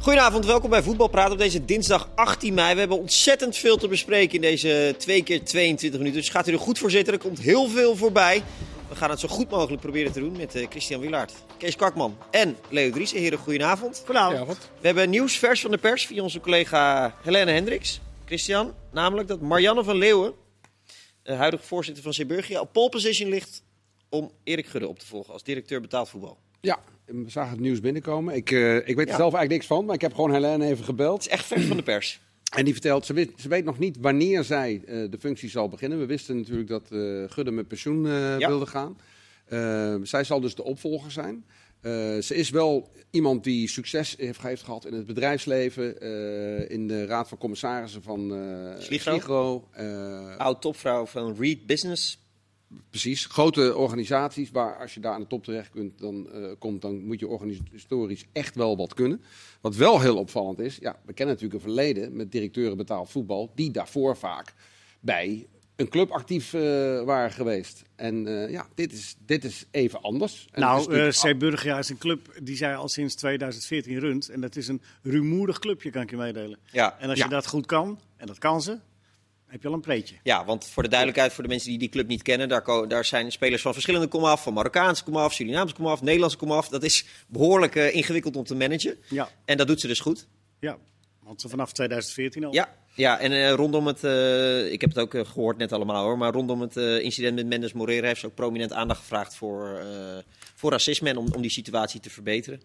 Goedenavond, welkom bij Voetbalpraat op deze dinsdag 18 mei. We hebben ontzettend veel te bespreken in deze 2 keer 22 minuten. Dus gaat u er goed voor zitten, er komt heel veel voorbij. We gaan het zo goed mogelijk proberen te doen met eh, Christian Wielaert, Kees Kwakman en Leo Dries. Heren, goedenavond. Goedenavond. We hebben nieuws vers van de pers via onze collega Helene Hendricks. Christian, namelijk dat Marianne van Leeuwen, de huidige voorzitter van Zeeburgia, op pole position ligt om Erik Gudde op te volgen als directeur betaald voetbal. Ja, we zagen het nieuws binnenkomen. Ik, eh, ik weet er Ja. zelf eigenlijk niks van, maar ik heb gewoon Helene even Het gebeld. is echt vers van de pers. En die vertelt, ze weet, ze weet nog niet wanneer zij eh, de functie zal beginnen. We wisten natuurlijk dat eh, Gudde met pensioen eh, Ja. wilde gaan. Eh, zij zal dus de opvolger zijn. Eh, ze is wel iemand die succes heeft, heeft gehad in het bedrijfsleven, eh, in de raad van commissarissen van eh Sligro. Sligro, eh, Oud topvrouw van Reed Business. Precies. Grote organisaties waar als je daar aan de top terecht kunt, dan, eh, komt, dan moet je organisatorisch echt wel wat kunnen. Wat wel heel opvallend is, ja, we kennen natuurlijk een verleden met directeuren betaald voetbal, die daarvoor vaak bij een club actief eh, waren geweest. En eh, ja, dit is, dit is even anders. En het is nou, eh natuurlijk- Zeeburgia is een club die zij al sinds 2014 runt. En dat is een rumoerig clubje, kan ik je meedelen. Ja. En als Ja. je dat goed kan, en dat kan ze, heb je al een preetje. Ja, want voor de duidelijkheid, voor de mensen die die club niet kennen, daar, ko- daar zijn spelers van verschillende komaf, van Marokkaanse komaf, Surinaamse komaf, Nederlandse komaf. Dat is behoorlijk eh, ingewikkeld om te managen. Ja, En dat doet ze dus goed. ja. want ze vanaf 2014 al. Ja, ja en eh, rondom het, eh, ik heb het ook eh, gehoord net allemaal hoor, maar rondom het eh, incident met Mendes Moreira heeft ze ook prominent aandacht gevraagd voor, eh, voor racisme en om, om die situatie te verbeteren.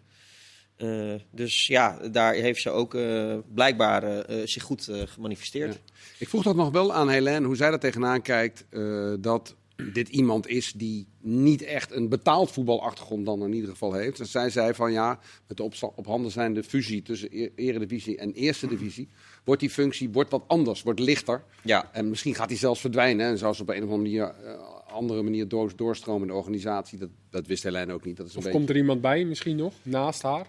Eh, dus ja, daar heeft ze ook eh, blijkbaar eh, eh, zich goed eh, gemanifesteerd. Ja. Ik vroeg dat nog wel aan Helene, hoe zij daar tegenaan kijkt. eh, dat dit iemand is die niet echt een betaald voetbalachtergrond dan in ieder geval heeft. En zij zei van ja, met de opsta- op handen zijnde fusie tussen e- eredivisie en eerste divisie. Wordt die functie wordt wat anders, wordt lichter. Ja. En misschien gaat die zelfs verdwijnen. En zou ze op een of andere manier, eh, andere manier door- doorstromen in de organisatie. Dat, dat wist Helene ook niet. Dat is een Of beetje... komt er iemand bij misschien nog, naast haar?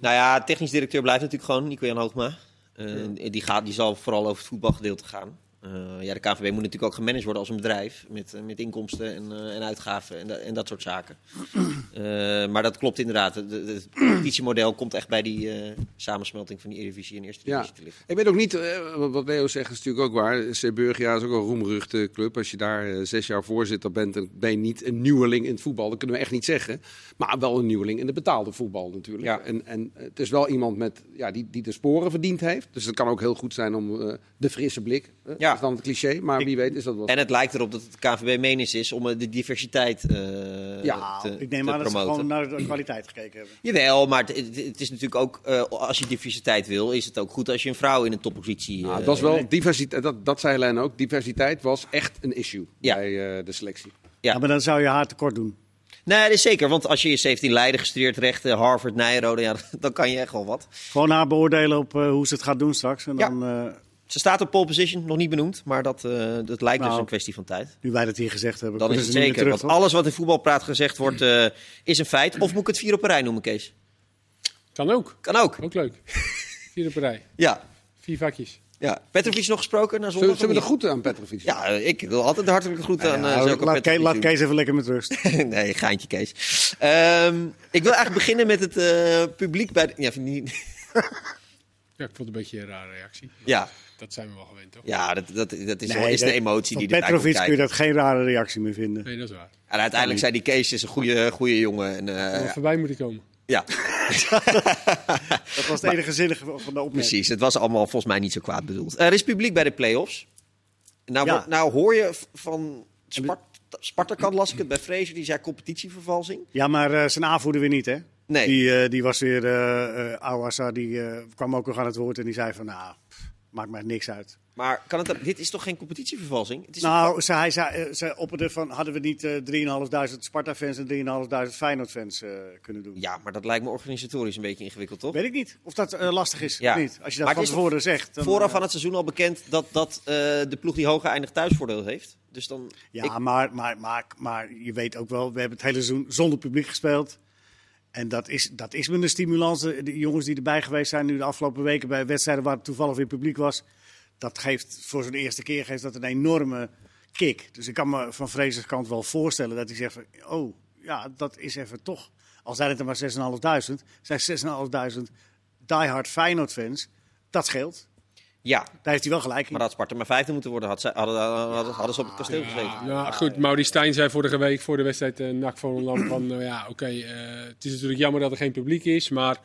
Nou ja, technisch directeur blijft natuurlijk gewoon Nico-Jan Hoogma. Eh, die, gaat, die zal vooral over het voetbalgedeelte gaan. Eh, ja, de KNVB moet natuurlijk ook gemanaged worden als een bedrijf. Met, eh, met inkomsten en, eh, en uitgaven en, da- en dat soort zaken. Eh, maar dat klopt inderdaad. Het- Het het competitiemodel komt echt bij die eh, samensmelting van die Eredivisie en Eerste Ja. Divisie te liggen. Ik weet ook niet, eh, wat- wat Leo zegt is natuurlijk ook waar. Seburgia is ook een roemruchte club. Als je daar eh, zes jaar voorzitter bent, dan ben je niet een nieuweling in het voetbal. Dat kunnen we echt niet zeggen. Maar wel een nieuweling in het betaalde voetbal natuurlijk. Ja. En, en het is wel iemand met, ja, die, die de sporen verdiend heeft. Dus het kan ook heel goed zijn om eh, de frisse blik. eh, Ja. is dan het cliché, maar wie weet is dat wel. En het lijkt erop dat het KNVB menens is om eh, de diversiteit eh, Ja, te, Ah, Ik neem te aan dat ze promoten. gewoon eh, naar de kwaliteit gekeken hebben. Jawel, maar het, het- het is natuurlijk ook, eh, als je diversiteit wil, is het ook goed als je een vrouw in een toppositie... Nou, eh, het was wel diversiteit, dat, dat zei Helene ook. Diversiteit was echt een issue Ja. bij eh, de selectie. Ja. Ja. Nou, maar dan zou je haar tekort doen. Nee, dat is zeker. Want als je eerst heeft in Leiden gestudeerd, rechten, Harvard, Nijrode, ja, dan kan je echt wel wat. Gewoon haar beoordelen op eh, hoe ze het gaat doen straks. En Ja. dan, eh, Ze staat op pole position, nog niet benoemd. Maar dat, eh, dat lijkt dus Nou, een kwestie van tijd. nu wij dat hier gezegd hebben, Dan is kunnen het ze niet zeker. meer Want terug. hoor. alles wat in voetbalpraat gezegd wordt, eh, is een feit. Of moet ik het vier op een rij noemen, Kees? Kan ook. Kan ook. Ook leuk. Vierde partij. Ja. Vier vakjes. ja. Petrovic nog gesproken naar zondag? Zullen, zullen we of niet? de groeten aan Petrovic? Ja, eh, ik wil altijd de hartelijke groeten aan eh Nou, Zelko laat, Kees, Petrovic laat doen. Kees even lekker met rust. nee, gaantje Kees. Ehm, ik wil eigenlijk beginnen met het eh, publiek bij... de- Ja, vind je niet... Ja, ik vond het een beetje een rare reactie. ja, Dat zijn we wel gewend, toch? ja dat, dat, dat is, wel- Nee, is de dat- emotie van die erbij komt Petrovic kun je kijken. dat geen rare reactie meer vinden. Nee, dat is waar. En uiteindelijk zei die Kees is een goede, goede jongen. En, eh, Maar voorbij moet ik komen. ja, Dat was het enige zinnige van de opmerking. precies. Het was allemaal volgens mij niet zo kwaad bedoeld. Eh, Er is publiek bij de play-offs. Nou, Ja. wo- nou hoor je v- van Spart Spartakan, las ik het bij Fraser, die zei competitievervalsing. Ja, maar eh, zijn aanvoerder weer niet, hè? Nee. Die, eh, die was weer, eh eh, Awasa, die eh, kwam ook nog aan het woord en die zei van, nou, pff, maakt mij niks uit. Maar kan het, dan- dit is toch geen competitievervalsing? Het is nou, ze, hij zei, eh, ze opperde van, hadden we niet eh 3.500 Sparta-fans en 3.500 Feyenoord-fans eh, kunnen doen? Ja, maar dat lijkt me organisatorisch een beetje ingewikkeld, toch? Weet ik niet of dat eh, lastig is Ja. of niet. Als je Maar dat van het is toch tevoren zegt. dan, Vooraf eh, aan het seizoen al bekend dat, dat eh, de ploeg die hoger eindigt thuisvoordeel heeft. Dus dan... Ja, ik- maar, maar, maar, maar je weet ook wel, we hebben het hele seizoen zonder publiek gespeeld. En dat is, dat is met een stimulans. De de jongens die erbij geweest zijn nu de afgelopen weken bij wedstrijden waar toevallig weer publiek was. Dat geeft voor zo'n eerste keer geeft dat een enorme kick. Dus ik kan me van Frezers kant wel voorstellen dat hij zegt van, oh ja, dat is even toch. Al zijn het er maar 6.500, zijn 6.500 diehard Feyenoord-fans, dat scheelt. Ja, Daar heeft hij wel gelijk in. maar had Sparta maar vijfde moeten worden, had zij- hadden, hadden, hadden ze op het kasteel gezeten. Ja, nou, goed, Mauri Stijn zei vorige week voor de wedstrijd eh NAC voor land van, nou ja, oké, eh, het is natuurlijk jammer dat er geen publiek is, maar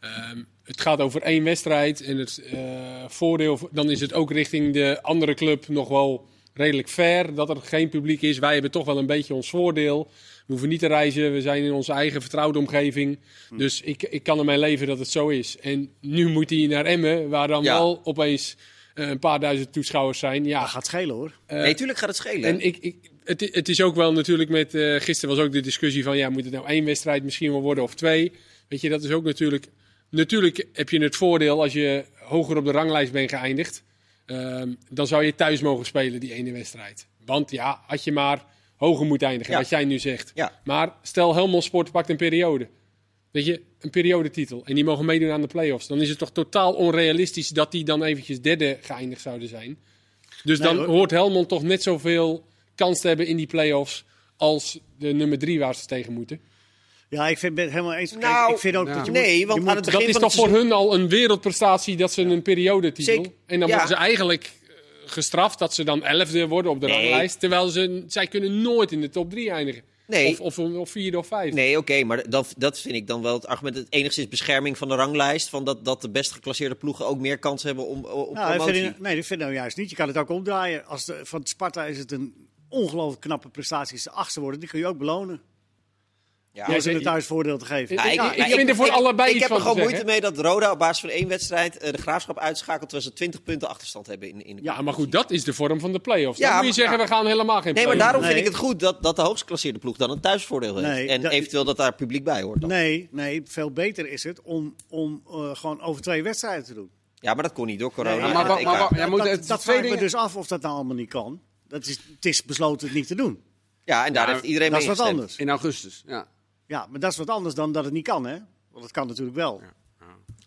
ehm, het gaat over één wedstrijd en het eh, voordeel, dan is het ook richting de andere club nog wel redelijk fair dat er geen publiek is. Wij hebben toch wel een beetje ons voordeel. We hoeven niet te reizen, we zijn in onze eigen vertrouwde omgeving. Dus ik, ik kan ermee leven dat het zo is. En nu moet hij naar Emmen, waar dan Ja. wel opeens eh, een paar duizend toeschouwers zijn. Ja, Dat gaat schelen hoor. nee, tuurlijk gaat het schelen. en ik, ik, het, i- het is ook wel natuurlijk met. eh, gisteren was ook de discussie van. Ja, moet het nou één wedstrijd misschien wel worden of twee? Weet je, dat is ook natuurlijk. Natuurlijk heb je het voordeel als je hoger op de ranglijst bent geëindigd. ehm, dan zou je thuis mogen spelen die ene wedstrijd. Want ja, had je maar hoger moet eindigen, Ja. wat jij nu zegt. Ja. Maar stel Helmond Sport pakt een periode. Weet je, een periodetitel. En die mogen meedoen aan de play-offs. Dan is het toch totaal onrealistisch dat die dan eventjes derde geëindigd zouden zijn. Dus Nee, dan hoor. hoort Helmond toch net zoveel kans te hebben in die play-offs. als de nummer drie waar ze tegen moeten. Ja, ik vind, ben het helemaal eens. Kijk, Nou, ik vind ook dat je moet- nee, want je moet- aan het Dat begin is van toch het voor seizoen... hun al een wereldprestatie dat ze een periodetitel. Zeker, En dan ja. worden ze eigenlijk eh, gestraft dat ze dan elfde worden op de Nee. ranglijst. Terwijl ze, zij kunnen nooit in de top drie eindigen. Nee. Of, of, of vierde of vijfde. Nee, oké, maar dat, dat vind ik dan wel het argument. Het enigszins bescherming van de ranglijst. Van dat, dat de best geclasseerde ploegen ook meer kans hebben om, op Nou, dat promotie. vind ik- nee, dat vind ik nou juist niet. Je kan het ook omdraaien. Als de, van Sparta is het een ongelooflijk knappe prestatie. Als ze achtste worden, die kun je ook belonen. Ja. Door Ja, ze ik- een thuis voordeel te geven. Ja, Ja, ik- ja, ik vind er voor allebei ik heb iets er van te gewoon moeite zeggen. mee dat Roda op basis van één wedstrijd eh, de graafschap uitschakelt terwijl ze 20 punten achterstand hebben in, in de Ja, maar goed, dat is de vorm van de play-offs. Ja, dan moet je maar- zeggen, ja. we gaan helemaal Nee, geen maar play-offs. daarom Nee. vind ik het goed dat, dat de hoogstgeklasseerde ploeg dan een thuisvoordeel heeft. Nee, en dat- eventueel dat daar publiek bij hoort. Dan. Nee, nee, veel beter is het om, om eh, gewoon over twee wedstrijden te doen. Ja, maar dat kon niet door corona. Nee, en maar het wa- EK. maar wa- ja, moet dat het- dat twee vraag ik me dingen- dus af of dat nou allemaal niet kan. Dat is, het is besloten het niet te doen. ja, en daar Ja, heeft iedereen Dat is mee wat ingestemd. anders. In augustus, ja. Ja, maar dat is wat anders dan dat het niet kan, hè? Want het kan natuurlijk wel.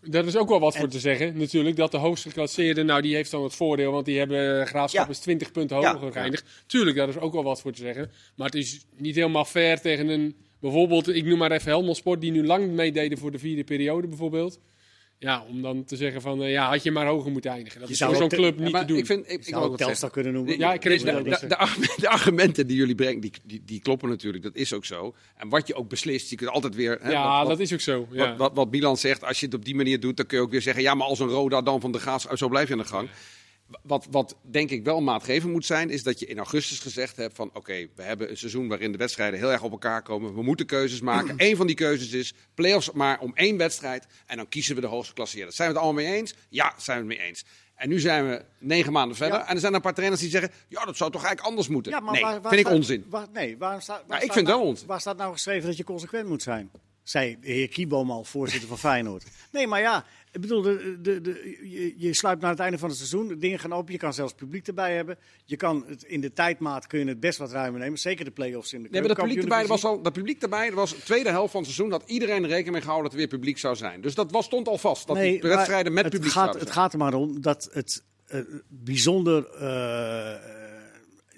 Daar is ook wel wat voor En- te zeggen, natuurlijk. Dat de hoogst geclasseerde, nou die heeft dan het voordeel, want die hebben eh, Graafschap Ja. is 20 punten Ja. hoger geëindigd. Tuurlijk, daar is ook wel wat voor te zeggen. Maar het is niet helemaal fair tegen een, bijvoorbeeld, ik noem maar even Helmond Sport, die nu lang meededen voor de vierde periode bijvoorbeeld. Ja, om dan te zeggen van, eh, ja, had je maar hoger moeten eindigen. Dat Je is zou voor ook zo'n te- club Ja, niet maar te doen. Ik vind, ik, ik Je wil zou ook ook wat Telstar zeggen. kunnen noemen. Ja, ik- De, wil ook de- wat de, zeggen. argumenten, de argumenten die jullie brengen, die, die, die kloppen natuurlijk. Dat is ook zo. En wat je ook beslist, je kunt altijd weer... hè, ja, wat- wat- dat is ook zo. Ja. Wat, wat, wat Milan zegt, als je het op die manier doet, dan kun je ook weer zeggen: ja, maar als een Roda dan van de gaas, zo blijf je aan de gang. Wat, wat denk ik wel maatgevend moet zijn, is dat je in augustus gezegd hebt: van oké, we hebben een seizoen waarin de wedstrijden heel erg op elkaar komen. We moeten keuzes maken. Eén van die keuzes is play-offs maar om één wedstrijd. En dan kiezen we de hoogste klasseerder. Zijn we het allemaal mee eens? Ja, zijn we het mee eens. En nu zijn we negen maanden verder. Ja. En er zijn een paar trainers die zeggen: ja, dat zou toch eigenlijk anders moeten. Ja, maar nee, waar- waar vind ik staat- onzin. Waar, nee, waarom staat, waar Nou, ik staat vind nou- wel onzin. Waar staat nou geschreven dat je consequent moet zijn? Zei de heer Kieboom al, voorzitter van Feyenoord. Nee, maar ja, ik bedoel, de, de, de, je, je sluipt naar het einde van het seizoen, de dingen gaan open, je kan zelfs publiek erbij hebben. Je kan het, in de tijdmaat kun je het best wat ruimer nemen, zeker de play-offs in de Nee, maar dat publiek, erbij was Keukenkampioen-divisie. al, dat publiek erbij er was de tweede helft van het seizoen dat iedereen er rekening mee gehouden dat er weer publiek zou zijn. Dus dat was, stond al vast, dat die maar wedstrijden met het publiek gaat, zouden Het zijn. gaat er maar om dat het eh, bijzonder eh, eh,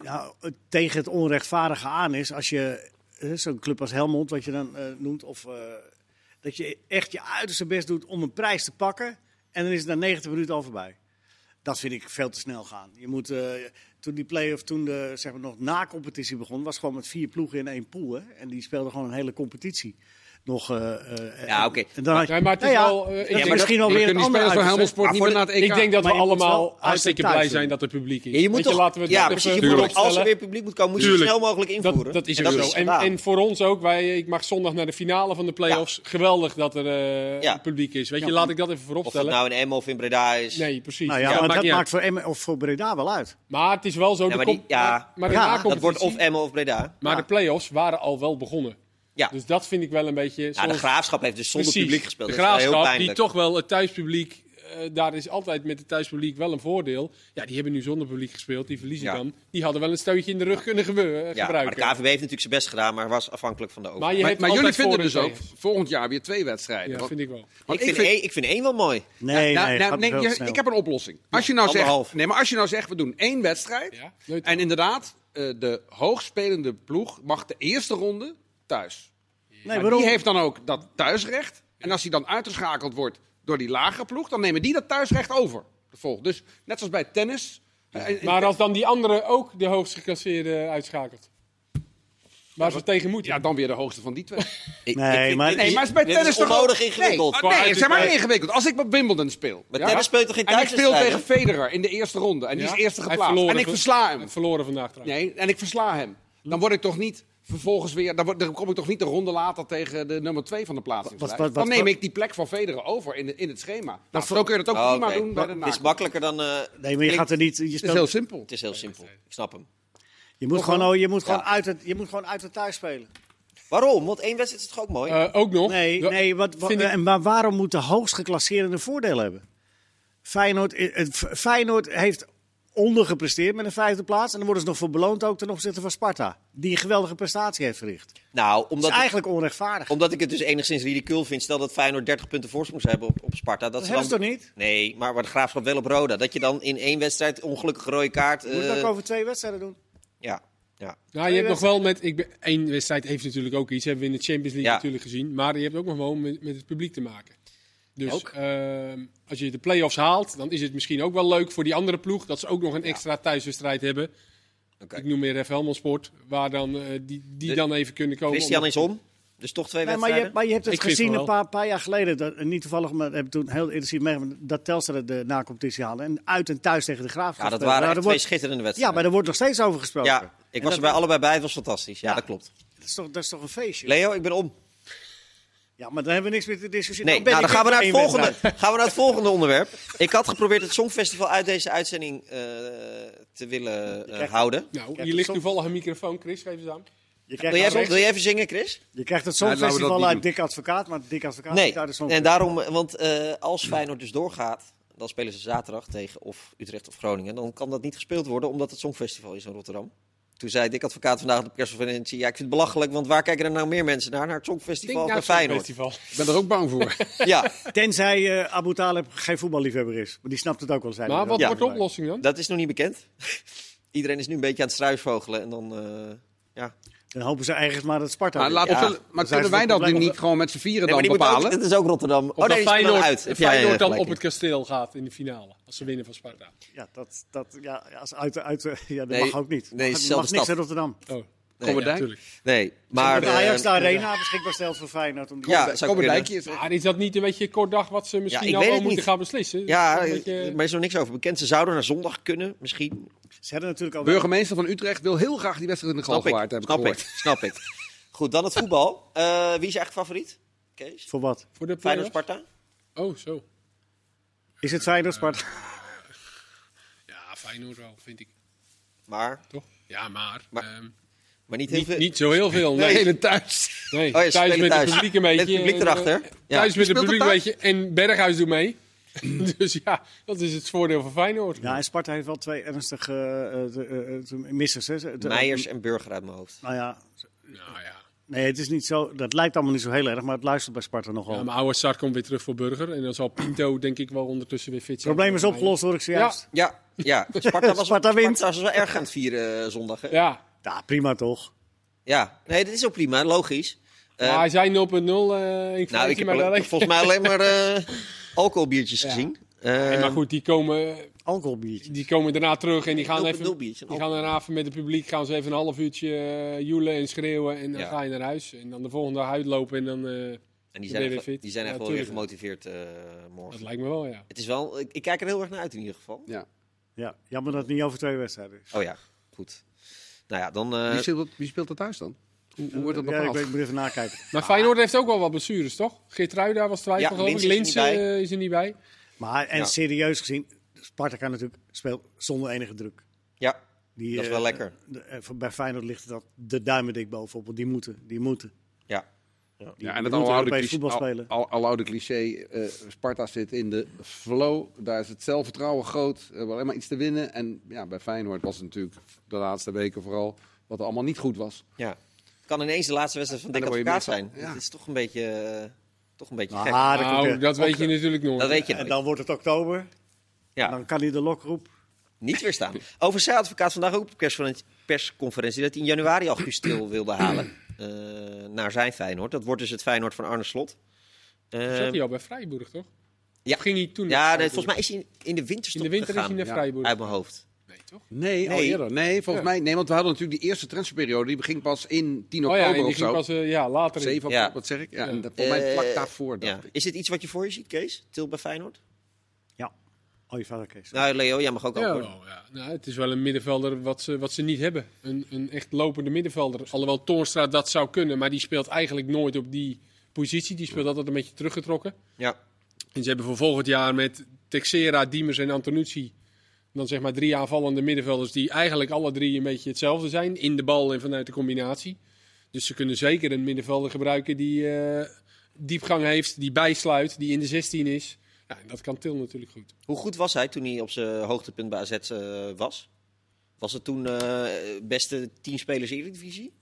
ja, het- tegen het onrechtvaardige aan is als je eh, zo'n club als Helmond, wat je dan eh, noemt, of eh, dat je echt je uiterste best doet om een prijs te pakken en dan is het na 90 minuten al voorbij. Dat vind ik veel te snel gaan. Je moet, eh, toen die play-off, toen de zeg maar, nog na competitie begon, was gewoon met vier ploegen in één pool. Hè? En die speelden gewoon een hele competitie. Nog, eh, eh, Ja, en- oké. en dan had je- Ja, maar het is Nou ja, wel, eh, ik dat denk is dat- misschien wel Dan weer kunnen een die ander spelers van Helmond uiterste. Sport niet Maar meer voor naar het EK. ik denk dat we Maar je moet wel allemaal uit de hartstikke thuis blij doen. zijn dat er publiek is. Ja, je moet Weet toch, laten we ja, dat precies, even je moet toch, vooropstellen. als er weer publiek moet komen, moet je het Tuurlijk. snel mogelijk invoeren. Dat, dat is en ook dat zo. Is en, gedaan. en voor ons ook, wij, ik mag zondag naar de finale van de play-offs. Geweldig dat er eh, Ja. publiek is. Weet je, laat ik dat even voorop of dat stellen. nou in Emmen of in Breda is. Nee, precies. Nou Ja, ja, maar maakt dat niet maakt uit. voor Emmen of voor Breda wel uit. Maar het is wel zo. Ja, de maar die- comp- ja. maar- maar de Ja, dat wordt na-competitie- of Emmen of Breda. Maar Ja. de play-offs waren al wel begonnen. Ja. Dus dat vind ik wel een beetje. Ja, de zoals- graafschap heeft dus zonder Precies. publiek gespeeld. De dat is wel heel graafschap, die pijnlijk. toch wel het thuispubliek. eh, daar is altijd met het thuispubliek wel een voordeel. Ja, die hebben nu zonder publiek gespeeld. Die verliezen Ja. dan. Die hadden wel een steutje in de rug kunnen gebe- ja, maar de gebruiken. KVB heeft natuurlijk zijn best gedaan, maar was afhankelijk van de overheid. je Maar, hebt maar jullie altijd vinden voor- dus ook tegen. volgend jaar weer twee wedstrijden. Ja, Want- vind E- ik wel. want ik, vind één, ik vind één wel mooi. Nee, Nou, nee, nou, gaat nee, veel je- te snel. ik heb een oplossing. Als je nou anderhalf. zegt, nee, maar als je nou zegt, we doen één wedstrijd. Ja, neutraal. en inderdaad, eh, de hoogspelende ploeg mag de eerste ronde thuis. nee, Maar waarom? die heeft dan ook dat thuisrecht. En als hij dan uitgeschakeld wordt door die lagere ploeg, dan nemen die dat thuisrecht over. De volgende. Dus net zoals bij tennis. eh, eh, Maar als dan die andere ook de hoogst gecasseerde uitschakelt. Waar ze tegen moeten. ja, dan weer de hoogste van die twee. Ik- Nee, ik vind maar- dit- Nee, maar is bij dit tennis is toch onnodig ook- ingewikkeld. Nee, Qua ah, nee uit- zeg maar uit- niet ingewikkeld. Als ik op Wimbledon speel. Maar tennis speelt toch geen En ik speel tegen thuiswedstrijden? Federer in de eerste ronde. En die Ja? is eerste Hij geplaatst. verloor En ik van- versla hem. hij verloren vandaag trouwens. Nee, en ik versla hem. Dan word ik toch niet vervolgens weer. Dan, word- dan kom ik toch niet de ronde later tegen de nummer 2 van de plaatsingslijst. Wat- wat- wat- dan neem wat- ik die plek van Federer over in, de- in het schema. Nou, voor- zo kun je dat ook Oh, prima oké. doen bij de Het is naak. makkelijker dan... eh, Nee, maar je Ik- gaat er niet. Je, Het is speelt, heel simpel. het is heel simpel. Ik snap hem. je moet, gewoon, oh, je, moet gewoon Ja. uit het, je moet gewoon uit het thuis spelen. Waarom? Want één wedstrijd is toch ook mooi? Eh, ook nog. Nee, Da- nee wat, wat, vind ik- en maar waarom moet de hoogst geclasseerde een voordeel hebben? Feyenoord, eh, eh, F- Feyenoord heeft ondergepresteerd met een vijfde plaats. En dan worden ze nog voor beloond ook ten opzichte van Sparta. Die een geweldige prestatie heeft verricht. Dat nou, is omdat, ik- eigenlijk onrechtvaardig. omdat ik het dus enigszins ridicuul vind. Stel dat Feyenoord 30 punten voorsprong zou hebben op, op Sparta. Dat, Dat ze hebben ze dan... toch niet? Nee, maar, maar de graafschap wel op Roda. Dat je dan in één wedstrijd ongelukkige rode kaart... Je moet eh, het ook over twee wedstrijden doen. Ja, ja. Nou, je hebt nog wel met. Ik ben, één wedstrijd heeft natuurlijk ook iets. Hebben we in de Champions League Ja. natuurlijk gezien. Maar je hebt ook nog wel met, met het publiek te maken. Dus Ook. ehm, als je de play-offs haalt, dan is het misschien ook wel leuk voor die andere ploeg. Dat ze ook nog een extra thuiswedstrijd hebben. Oké. Ik noem meer even Helmond Sport. Waar dan, eh, die, die De- dan even kunnen komen. Christian om- is om. Dus toch twee Nee, maar, je, wedstrijden? maar je hebt het Ik vind gezien van een wel. paar, paar jaar geleden. Dat, niet toevallig, maar heb ik toen heel intensief meegemaakt. Dat Telstra de na-competitie haalde. En uit en thuis tegen de Graafschap. Ja, dat speelde. waren echt Nou, er twee wordt- schitterende Ja, wedstrijden. maar daar wordt nog steeds over gesproken. Ja, ik was er bij allebei bij. Het was fantastisch. Ja, dat klopt. Dat is toch, dat is toch een feestje? Leo, ik ben om. Ja, maar daar hebben we niks meer te discussiëren. Nee, nou, dan gaan we, naar het volgende, gaan we naar het volgende onderwerp. Ik had geprobeerd het Songfestival uit deze uitzending eh, te willen eh, krijgt- houden. Nou, Kijk, hier ligt soms- toevallig een microfoon, Chris. Geef eens aan. Je Wil jij, krijgt, wil jij even zingen, Chris? je krijgt het Nee, laten we dat Songfestival niet uit doen. Dick Advocaat, maar Dick Advocaat Nee. is uit de En Songfestival. daarom, want eh, als Feyenoord dus doorgaat, dan spelen ze zaterdag tegen of Utrecht of Groningen. Dan kan dat niet gespeeld worden, omdat het Songfestival is in Rotterdam. Toen zei Dick Advocaat vandaag op de persconferentie, ja, ik vind het belachelijk, want waar kijken er nou meer mensen naar? Naar het Songfestival of naar Feyenoord? Festival. Ik ben er ook bang voor. Ja, Tenzij eh, Abu Talib geen voetballiefhebber is. Maar die snapt het ook wel. zei hij Maar wel. wat eh, Ja. wordt de oplossing dan? dat is nog niet bekend. Iedereen is nu een beetje aan het struisvogelen en dan... eh, ja. Dan hopen ze ergens maar dat Sparta... maar wint. laat Ja. ons wel- maar Dat zijn kunnen ze wij het dat nu probleem- niet gewoon met z'n vieren Nee, maar dan die moet ook, bepalen? dat is ook Rotterdam. Oh, Of dat die speelt Feyenoord, uit. Heb jij, Feyenoord eh, dan gelijk op in. het kasteel gaat in de finale. Als ze winnen van Sparta. Ja, dat, dat, ja, ja, als uit, uit, ja dat Nee, mag ook niet. nee, Nee, mag, dezelfde mag niks stad. in Rotterdam. Oh, Nee, Kommerdijk? natuurlijk. nee, maar... dat Ajax eh, de Arena beschikbaar stelt voor Feyenoord. Om die Ja, Kom- zou Kom een kunnen. dijkje. Maar is dat niet een beetje kort dag wat ze misschien ik al weet wel het moeten niet. gaan beslissen? Ja, Dat is eh, een beetje- maar er is nog niks over bekend. Ze zouden naar zondag kunnen, misschien. Ze hebben natuurlijk al... Burgemeester van Utrecht wil heel graag die wedstrijd in de gal Snap ik, gewaard hebben. snap ik, snap ik. Goed, dan het voetbal. Eh, wie is je echt favoriet? Kees? Voor wat? voor de Feyenoord play-offs? Sparta? Oh, zo. Is het Feyenoord, Sparta? Ja, Feyenoord wel, vind ik. Maar, Toch? Ja, maar... Maar- ehm, maar niet heel niet, veel. niet zo heel veel. Nee, Hele thuis. Oh nee. ja, ze thuis spelen met thuis. het publiek een beetje. Met het publiek en, eh, erachter. Ja. Thuis met het Speelt het publiek een thuis? beetje. En Berghuis doet mee. dus ja, dat is het voordeel van Feyenoord. Ja, en Sparta heeft wel twee ernstige eh, eh, eh, missers. Hè. Ze- de- Meijers en Burger uit mijn hoofd. Nou ja, Nou ja. nee, het is niet zo. Dat lijkt allemaal niet zo heel erg, maar het luistert bij Sparta nogal. ja het maar oude Sar komt weer terug voor Burger. En dan zal Pinto denk ik wel ondertussen weer fit zijn. probleem is opgelost, hoor ik zojuist. Ja, ja. Sparta was, Sparta wint. Sparta was wel erg aan het vieren eh, zondag. Hè? Ja. Ja, Ja. prima toch? nee, dat is ook prima, logisch. Eh, maar hij zei 0.0. eh ik nou, ik heb maar, al- daar lijkt- volgens mij alleen maar eh, alcoholbiertjes gezien. Nee, Eh maar goed, die komen, Alcoholbiertje. Die komen daarna terug en die gaan, Open even, doelbiertje, een die gaan daarna even met het publiek gaan ze even een half uurtje eh, joelen en schreeuwen. En dan Ja. ga je naar huis. En dan de volgende dag uitlopen en dan... eh, en die ben zijn weer echt, fit. die zijn Ja, echt wel weer tuurlijk. gemotiveerd eh, dat morgen. lijkt me wel, ja. Het is wel, ik, ik kijk er heel erg naar uit in ieder geval. Ja. Ja, jammer dat het niet over twee wedstrijden is. Oh ja, goed. Nou ja, dan... eh, Wie speelt, dat- wie speelt er thuis dan? Hoe, hoe wordt dat ja, Eh, ik, bepaald? weet- ik moet even nakijken. Maar Feyenoord heeft ook wel wat blessures, toch? Geertruida was twijfel, Ah. Ja, geloof ik. Linssen is er Linssen niet bij. eh, is er niet bij. Maar en Ja. serieus gezien, Sparta kan natuurlijk speelt zonder enige druk. ja, Die, Dat is eh, wel lekker. de- eh, voor- bij Feyenoord ligt dat de duimen dik bovenop. want Die moeten, die moeten. ja. Die, ja, en die het moeten aloude Europees cliché, voetbal al, spelen. al, aloude cliché eh, Sparta zit in de flow. Daar is het zelfvertrouwen groot. Er hebben alleen maar iets te winnen. En ja, bij Feyenoord was het natuurlijk de laatste weken vooral wat er allemaal niet goed was. Ja. Het kan ineens de laatste wedstrijd van En Dick dan word je Advocaat zijn. meestal- Het ja. is toch een beetje, eh, toch een beetje gek. Ah, dat Nou, komt, eh, dat weet je natuurlijk nog. Dat weet je En nooit. dan wordt het oktober. Ja, Dan kan hij de lokroep. niet weer staan. Over zijn advocaat vandaag ook op de persconferentie- persconferentie dat hij in januari al Gustil wilde halen eh, naar zijn Feyenoord. Dat wordt dus het Feyenoord van Arne Slot. Eh, Zat hij al bij Freiburg, toch? Ja. Of ging hij toen? naar Ja, Freiburg? dat- volgens mij is hij in- in de winterstop In de winter is gegaan. hij naar Freiburg. Uit mijn hoofd. Nee, toch? Nee, al Nee. eerder. Nee, volgens mij. Nee, want we hadden natuurlijk die eerste transferperiode. Die beging pas in 10 Oh oktober ja, en die of ging zo. pas eh, ja, later in. 7 oktober, Ja. wat zeg ik? Ja, Ja. en dat- volgens mij Eh, vlak daarvoor. Ja. dacht ik. Is dit iets wat je voor je ziet, Kees? Til bij Feyenoord? Ja. Oh, je vader Kees. Nou, Leo, jij mag ook Ja, antwoorden. wel, ja. Nou, het is wel een middenvelder wat ze, wat ze niet hebben. Een, een echt lopende middenvelder. Alhoewel Toornstra dat zou kunnen, maar die speelt eigenlijk nooit op die positie. Die speelt altijd een beetje teruggetrokken. Ja. En ze hebben voor volgend jaar met Texera, Diemers en Antonucci... dan zeg maar drie aanvallende middenvelders die eigenlijk alle drie een beetje hetzelfde zijn. In de bal en vanuit de combinatie. Dus ze kunnen zeker een middenvelder gebruiken die eh, diepgang heeft, die bijsluit, die in de 16 is. Ja, en dat kan Til natuurlijk goed. Hoe goed was hij toen hij op zijn hoogtepunt bij AZ eh, was? Was het toen eh, beste tien spelers Eredivisie?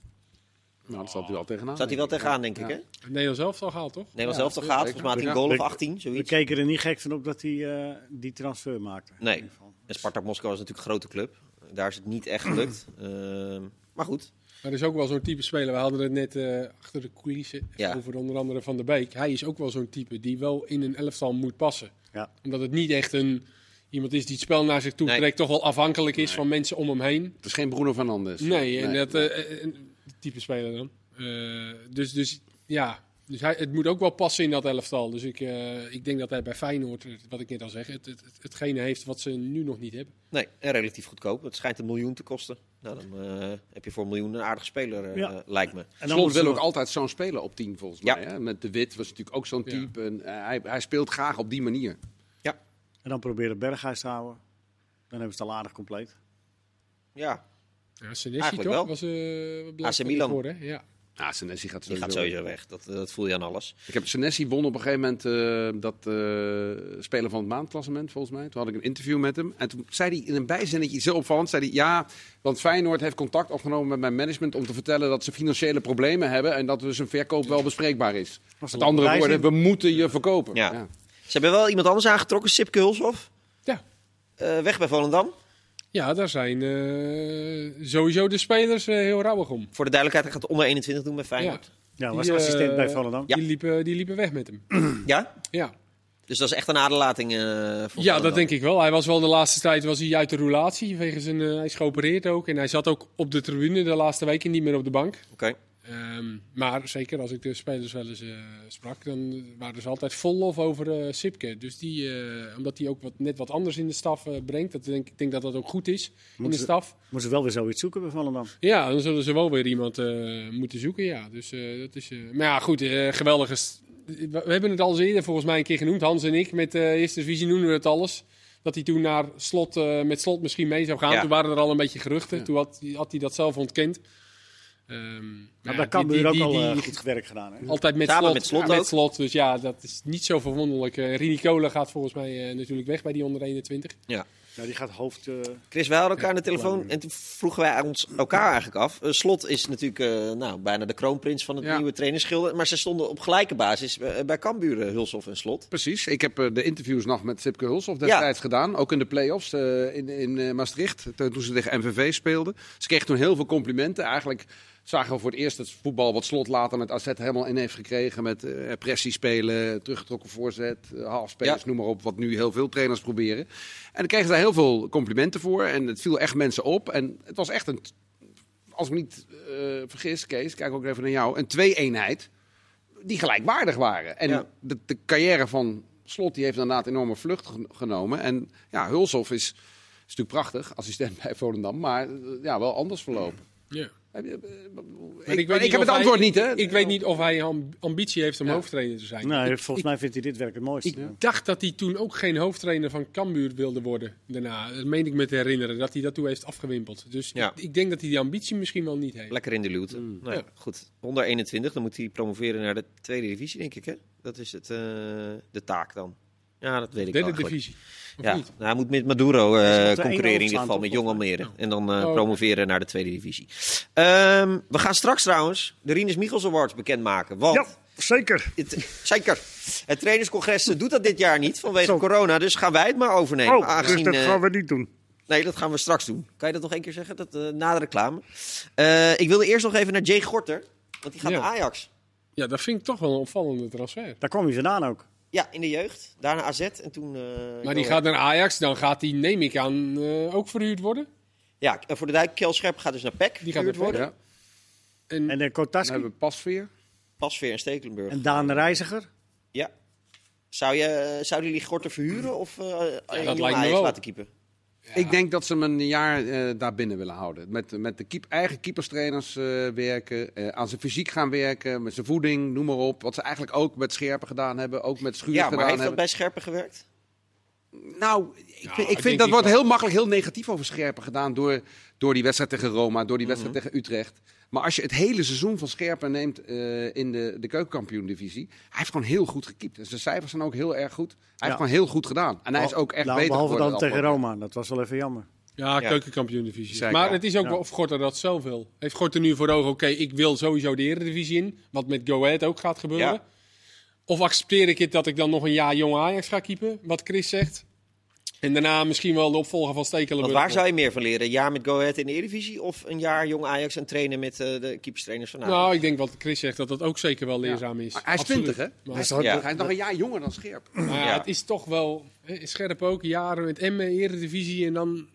Nou, dat zat hij wel tegenaan. Zat hij wel denk ik. tegenaan, denk ik, Ja. hè? Het Nederlands elftal gehaald, toch? Nederlands Ja, zelf toch gaat, zeker. volgens mij had hij een goal Ja. of 18, We zoiets. keken er niet gek van op dat hij eh, die transfer maakte. Nee. In ieder geval. En Spartak Moskou is natuurlijk een grote club. Daar is het niet echt gelukt. Ehm, maar goed, Maar er is ook wel zo'n type speler. We hadden het net eh, achter de coulissen Ja. over onder andere Van der Beek. Hij is ook wel zo'n type die wel in een elftal moet passen. Ja. Omdat het niet echt een, iemand is die het spel naar zich toe Nee. trekt. Toch wel afhankelijk is van mensen om hem heen. Het is geen Bruno Fernandes. Nee, en dat eh, eh, type speler dan. Eh, dus, dus ja, dus hij, het moet ook wel passen in dat elftal. Dus ik, eh, ik denk dat hij bij Feyenoord, eh, wat ik net al zeg, het, het, het- hetgene heeft wat ze nu nog niet hebben. nee, en relatief goedkoop. Het schijnt een miljoen te kosten. Nou, dan eh, heb je voor een miljoen een aardige speler, eh, Ja. lijkt me. En Slot wil moeten ze- ook altijd zo'n speler op 10, volgens Ja. mij. Hè? Met De Wit was natuurlijk ook zo'n Ja. type. En, eh, hij, hij speelt graag op die manier. En dan proberen Berghuis te houden. Dan hebben ze het al aardig compleet. Ja, Ja, Senesi Eigenlijk toch? wel. Was, eh, wat bleek AC er Milan. voor, hè? Ja. Ah, Senesi gaat die sowieso. gaat sowieso weg. Dat, eh, dat voel je aan alles. Ik heb Senesi won op een gegeven moment eh, dat eh Speler van het Maandklassement, volgens mij. Toen had ik een interview met hem. En toen zei hij in een bijzinnetje zo opvallend. Zei hij, ja, want Feyenoord heeft contact opgenomen met mijn management om te vertellen dat ze financiële problemen hebben. En dat dus een verkoop wel bespreekbaar is. Met een andere prijs woorden, in. we moeten je verkopen. Ja. Ze hebben wel iemand anders aangetrokken, Sipke Hulshoff. ja, Eh, weg bij Volendam. Ja, daar zijn eh, sowieso de spelers eh, heel rauwig om. Voor de duidelijkheid, hij gaat onder 21 doen bij Feyenoord. Ja, was Die, eh, assistent bij Volendam. Ja. Die, liepen, die liepen weg met hem. Ja? Ja, Dus dat is echt een aderlating eh, voor ja dat denk ik wel. Hij was wel de laatste tijd was hij uit de roulatie. Wegens een, eh, hij is geopereerd ook. En hij zat ook op de tribune de laatste weken niet meer op de bank. Oké. Ehm, maar zeker als ik de spelers wel eens eh, sprak, dan waren ze altijd vol lof over eh, Sipke. Dus die, eh, omdat hij ook wat, net wat anders in de staf eh, brengt. Dat denk, ik denk dat dat ook goed is in de Moeten ze- staf. Moeten ze wel weer zoiets zoeken bij Volendam. Ja, dan zullen ze wel weer iemand eh, moeten zoeken. Ja. Dus, eh, dat is, eh, maar ja, goed, eh, geweldige. st- We we hebben het al eens eerder volgens mij een keer genoemd. Hans en ik met eh Eerste Divisie noemden we het alles. Dat hij toen naar slot, eh, met slot misschien mee zou gaan. Ja. Toen waren er al een beetje geruchten. Ja. Toen had, hij- had hij dat zelf ontkend. Ehm, Maar ja, daar kan die- Muur ook die- al die- eh, die- goed werk gedaan. Hè? Altijd met Samen slot. met Slot Ja, ook. slot. Dus ja, dat is niet zo verwonderlijk. Eh Rini Kolen gaat volgens mij eh, natuurlijk weg bij die onder 21. Nou, die gaat hoofd... eh, Chris, wij hadden elkaar aan de telefoon en toen vroegen wij ons elkaar eigenlijk af. Eh, Slot is natuurlijk eh, nou, bijna de kroonprins van het Ja. nieuwe trainerschilder. Maar ze stonden op gelijke basis eh, bij Kamburen, Hulshoff en Slot. Precies. Ik heb eh, de interviews nog met Sipke Hulshoff Ja. destijds gedaan. Ook in de play-offs eh, in, in eh, Maastricht, toen toen ze tegen MVV speelden. Ze kreeg toen heel veel complimenten. Eigenlijk zagen we voor het eerst het voetbal wat Slot later met AZ helemaal in heeft gekregen. Met eh, pressie spelen, teruggetrokken voorzet, eh, halfspelers, Ja. noem maar op. Wat nu heel veel trainers proberen. En dan kregen ze daar heel veel complimenten voor. En het viel echt mensen op. En het was echt een... t- Als ik me niet eh, vergis, Kees, kijk ook even naar jou. Een twee-eenheid die gelijkwaardig waren. En Ja. de, de carrière van Slot die heeft inderdaad enorme vlucht gen- genomen. En ja, Hulshoff is, is natuurlijk prachtig, assistent bij Volendam, maar eh, ja, wel anders verlopen. Ja. Heb je- eh, Ik, Maar ik, weet niet heb of het antwoord hij- niet, hè? Ik weet niet of hij amb- ambitie heeft om Ja. hoofdtrainer te zijn. nou, Ik- volgens mij vindt hij dit werk het mooiste. Ik dacht dat hij toen ook geen hoofdtrainer van Cambuur wilde worden. Daarna, dat meen ik me te herinneren, dat hij dat toen heeft afgewimpeld. Dus Ja. ik, ik denk dat hij die ambitie misschien wel niet heeft. Lekker in de luwte. Nou, ja, Ja. Goed, onder 21, dan moet hij promoveren naar de tweede divisie, denk ik. Hè? Dat is het, eh, de taak dan. Ja, dat weet ik wel Derde eigenlijk. divisie. Of Ja, niet? nou, hij moet met Maduro eh, Hij is altijd één concurreren in ieder overslaan, geval, toch? met Jong Almere. En dan eh, Oh, oké. promoveren naar de tweede divisie. Ehm, we gaan straks trouwens de Rinus Michels Awards bekendmaken. Want zeker. het, zeker, het trainerscongres doet dat dit jaar niet vanwege Zo. Oh, dus corona. Dus gaan wij het maar overnemen. aangezien, eh, we niet doen. Nee, dat gaan we straks doen. Kan je dat nog één keer zeggen? Dat, eh, na de reclame. Eh, ik wilde eerst nog even naar Jay Gorter. Want die gaat Ja. naar Ajax. Ja, dat vind ik toch wel een opvallende transfer. Daar kwam hij vandaan ook. Ja, in de jeugd. Daarna AZ en toen... eh, Maar Go die Ahead. gaat naar Ajax, dan gaat die, neem ik aan, eh, ook verhuurd worden. Ja, en voor de dijk, Kjell Scherp gaat dus naar PEC. Die Die gaat gaat naar E worden. Ja. En, En de Dan Kotaski Nou, hebben we Pasveer. Pasveer en Stekelenburg. en Daan Reiziger. Ja. Zou, je, zouden jullie Gorter verhuren of eh een jonge lijkt me Ajax wel. laten keepen? ja. Ik denk dat ze hem een jaar eh, daar binnen willen houden. Met, met de keep, eigen keeperstrainers eh, werken, eh, aan zijn fysiek gaan werken, met zijn voeding, noem maar op. Wat ze eigenlijk ook met Scherpen gedaan hebben, ook met Schuur Ja, maar gedaan heeft dat hebben. bij Scherpen gewerkt? Nou, ik vind, ik ik denk vind dat niet wordt wel. heel makkelijk heel negatief over Scherpen gedaan door, door die wedstrijd tegen Roma, door die wedstrijd Mhm. tegen Utrecht. Maar als je het hele seizoen van Scherpen neemt eh, in de, de keukenkampioen-divisie, hij heeft gewoon heel goed gekiept. En zijn cijfers zijn ook heel erg goed. Hij heeft gewoon heel goed gedaan. En hij is ook echt Nou, beter Behalve geworden dan de tegen afgelopen Roma. Dat was wel even jammer. Ja, Ja. keukenkampioen divisie. Zeker. Maar het is ook Ja. wel of Gorter dat zelf wil. Heeft Gorter nu voor ogen, oké, ik wil sowieso de Eredivisie in. Wat met Go Ahead ook gaat gebeuren. Ja. Of accepteer ik het dat ik dan nog een jaar jong Ajax ga keepen, wat Chris zegt. En daarna misschien wel de opvolger van Want Stekelenburg. waar zou je meer van leren? Een jaar met Go Ahead in de Eredivisie of een jaar jong Ajax en trainen met eh, de keeperstrainers van Ajax? Nou, ik denk wat Chris zegt, dat dat ook zeker wel leerzaam is. Maar hij is Absoluut. 20, hè? Maar- Hij is toch- Ja. Hij is nog een jaar jonger dan Scherp. Maar ja, Ja. het is toch wel hè, scherp ook. Jaren met Emmen, Eredivisie en dan...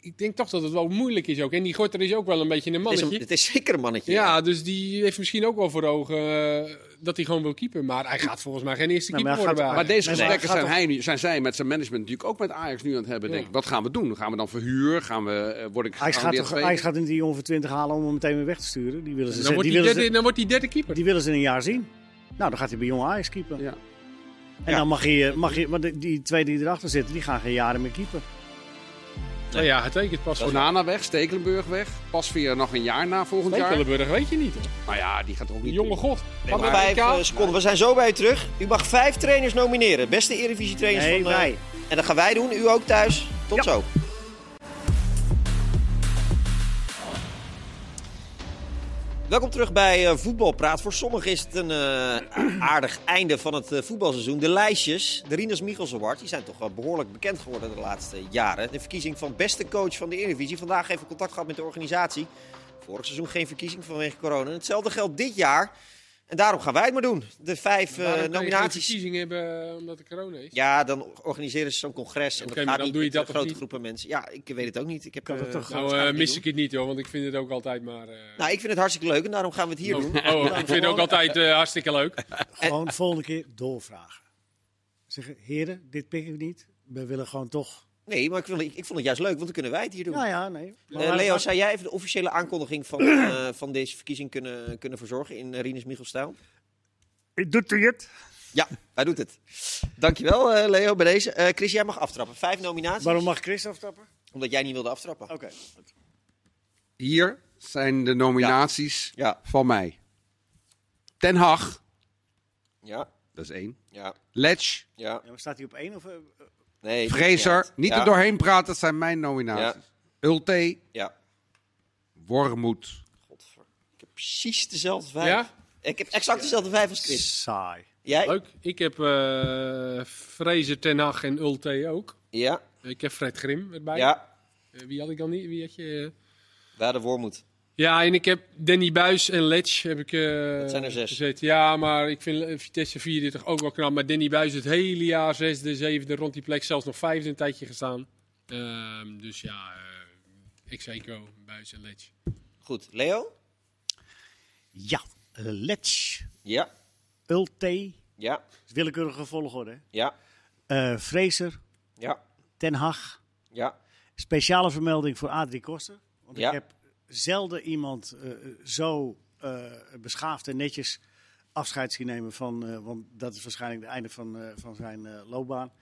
Ik denk toch dat het wel moeilijk is ook. En die Gorter is ook wel een beetje een het, is mannetje. een- het is zeker een mannetje. Ja, dus die heeft misschien ook wel voor ogen eh, dat hij gewoon wil keepen. Maar hij gaat volgens mij geen eerste Nou, keeper maar hij worden bij gaat- Maar Ajax. deze Nee, gesprekken maar zijn, gaat hij, nu- zijn zij met zijn management natuurlijk ook met Ajax nu aan het hebben. Ja. Denk ik, wat gaan we doen? Gaan we dan verhuur? Gaan we, eh, word ik Ajax gaat, gegarandeerd toch, tweede? Ajax gaat niet die jongen van 20 halen om hem meteen weer weg te sturen. Die willen ze, dan, ah, die wordt die willen derde, ze, dan wordt hij derde keeper. die willen ze in een jaar zien. Nou, dan gaat hij bij jonge Ajax keeper. Ja. En Ja. dan mag je, mag je, maar de- die twee die erachter zitten, die gaan geen jaren meer keeper. Nou ja, het tekent pas voor Onana weg, Stekelenburg weg. Pas weer nog een jaar na volgend jaar. Stekelenburg, weet je niet. hè? Nou ja, die gaat er ook Die niet jonge doen. god. Nee, Van maar de vijf WK. eh, seconden. We zijn zo bij u terug. U mag vijf trainers nomineren. Beste Eredivisie trainers Nee, van... eh, wij. En dat gaan wij doen. U ook thuis. Tot Ja. zo. Welkom terug bij eh, Voetbalpraat. Voor sommigen is het een eh, aardig einde van het eh, voetbalseizoen. De lijstjes, de Rinus Michels Award, die zijn toch wel behoorlijk bekend geworden de laatste jaren. De verkiezing van beste coach van de Eredivisie. Vandaag even contact gehad met de organisatie. Vorig seizoen geen verkiezing vanwege corona. Hetzelfde geldt dit jaar. En daarom gaan wij het maar doen. De vijf eh, Waarom Nou, kan je geen nominaties. verkiezing hebben eh, omdat er corona is. Ja, dan organiseren ze zo'n congres. En Oké, dat maar gaat dan niet doe je met, eh, dat of grote niet? groepen mensen. Ja, ik weet het ook niet. Ik heb Kan dat eh, toch- dat nou, ga eh, ik niet mis doen. ik het niet hoor, want ik vind het ook altijd maar... eh, Nou, ik vind het hartstikke leuk en daarom gaan we het hier doen. oh, oh, ik vind het ook altijd eh, hartstikke leuk. Gewoon de volgende keer doorvragen. Zeggen, heren, dit pikken we niet. We willen gewoon toch... Nee, maar ik, wil, ik, ik vond het juist leuk, want dan kunnen wij het hier doen. Nou ja, nee. Maar Eh, waar- Leo, waar- zou jij even de officiële aankondiging van, eh, van deze verkiezing kunnen, kunnen verzorgen in eh, Rinus Michelstijl? Doet u het? Ja, hij doet het. Dankjewel, eh, Leo, bij deze. Eh, Chris, jij mag aftrappen. Vijf nominaties. Waarom mag Chris aftappen? Omdat jij niet wilde aftrappen. Oh. Oké. Nou, Hier zijn de nominaties Ja, van mij. Ten Hag, ja, dat is één. ja, Letch, ja. Ja, maar staat hij op één of... eh, Nee, Fraser. Niet ja, er doorheen praten, dat zijn mijn nominaties. Ulte, Ja, Wormoed. godver. Ik heb precies dezelfde vijf. Ja? Ik heb exact dezelfde vijf als Chris. Saai. Jij? Leuk. Ik heb eh Fraser, Ten Hag en Ulte ook. Ja, Ik heb Fred Grim erbij. ja. Eh, wie had ik dan niet? Wie had je... eh? Daar de Wormoed. Ja, en ik heb Danny Buis en Letch heb ik. eh, Dat zijn er zes. gezet. Ja, maar ik vind eh, Vitesse 34 ook wel knap. Maar Danny Buis het hele jaar zesde, zevende, rond die plek zelfs nog vijfde een tijdje gestaan. Ehm, dus ja, eh Xeco, Buis en Letch. Goed, Leo? Ja, Letch, Ja, Ulte, ja, willekeurige volgorde. ja, Eh Fraser, ja, Ten Hag. ja. Speciale vermelding voor Adrie Koster. Want Ja. ik heb zelden iemand eh, zo eh, beschaafd en netjes afscheid zien nemen van... eh, want dat is waarschijnlijk het einde van, eh, van zijn eh, loopbaan.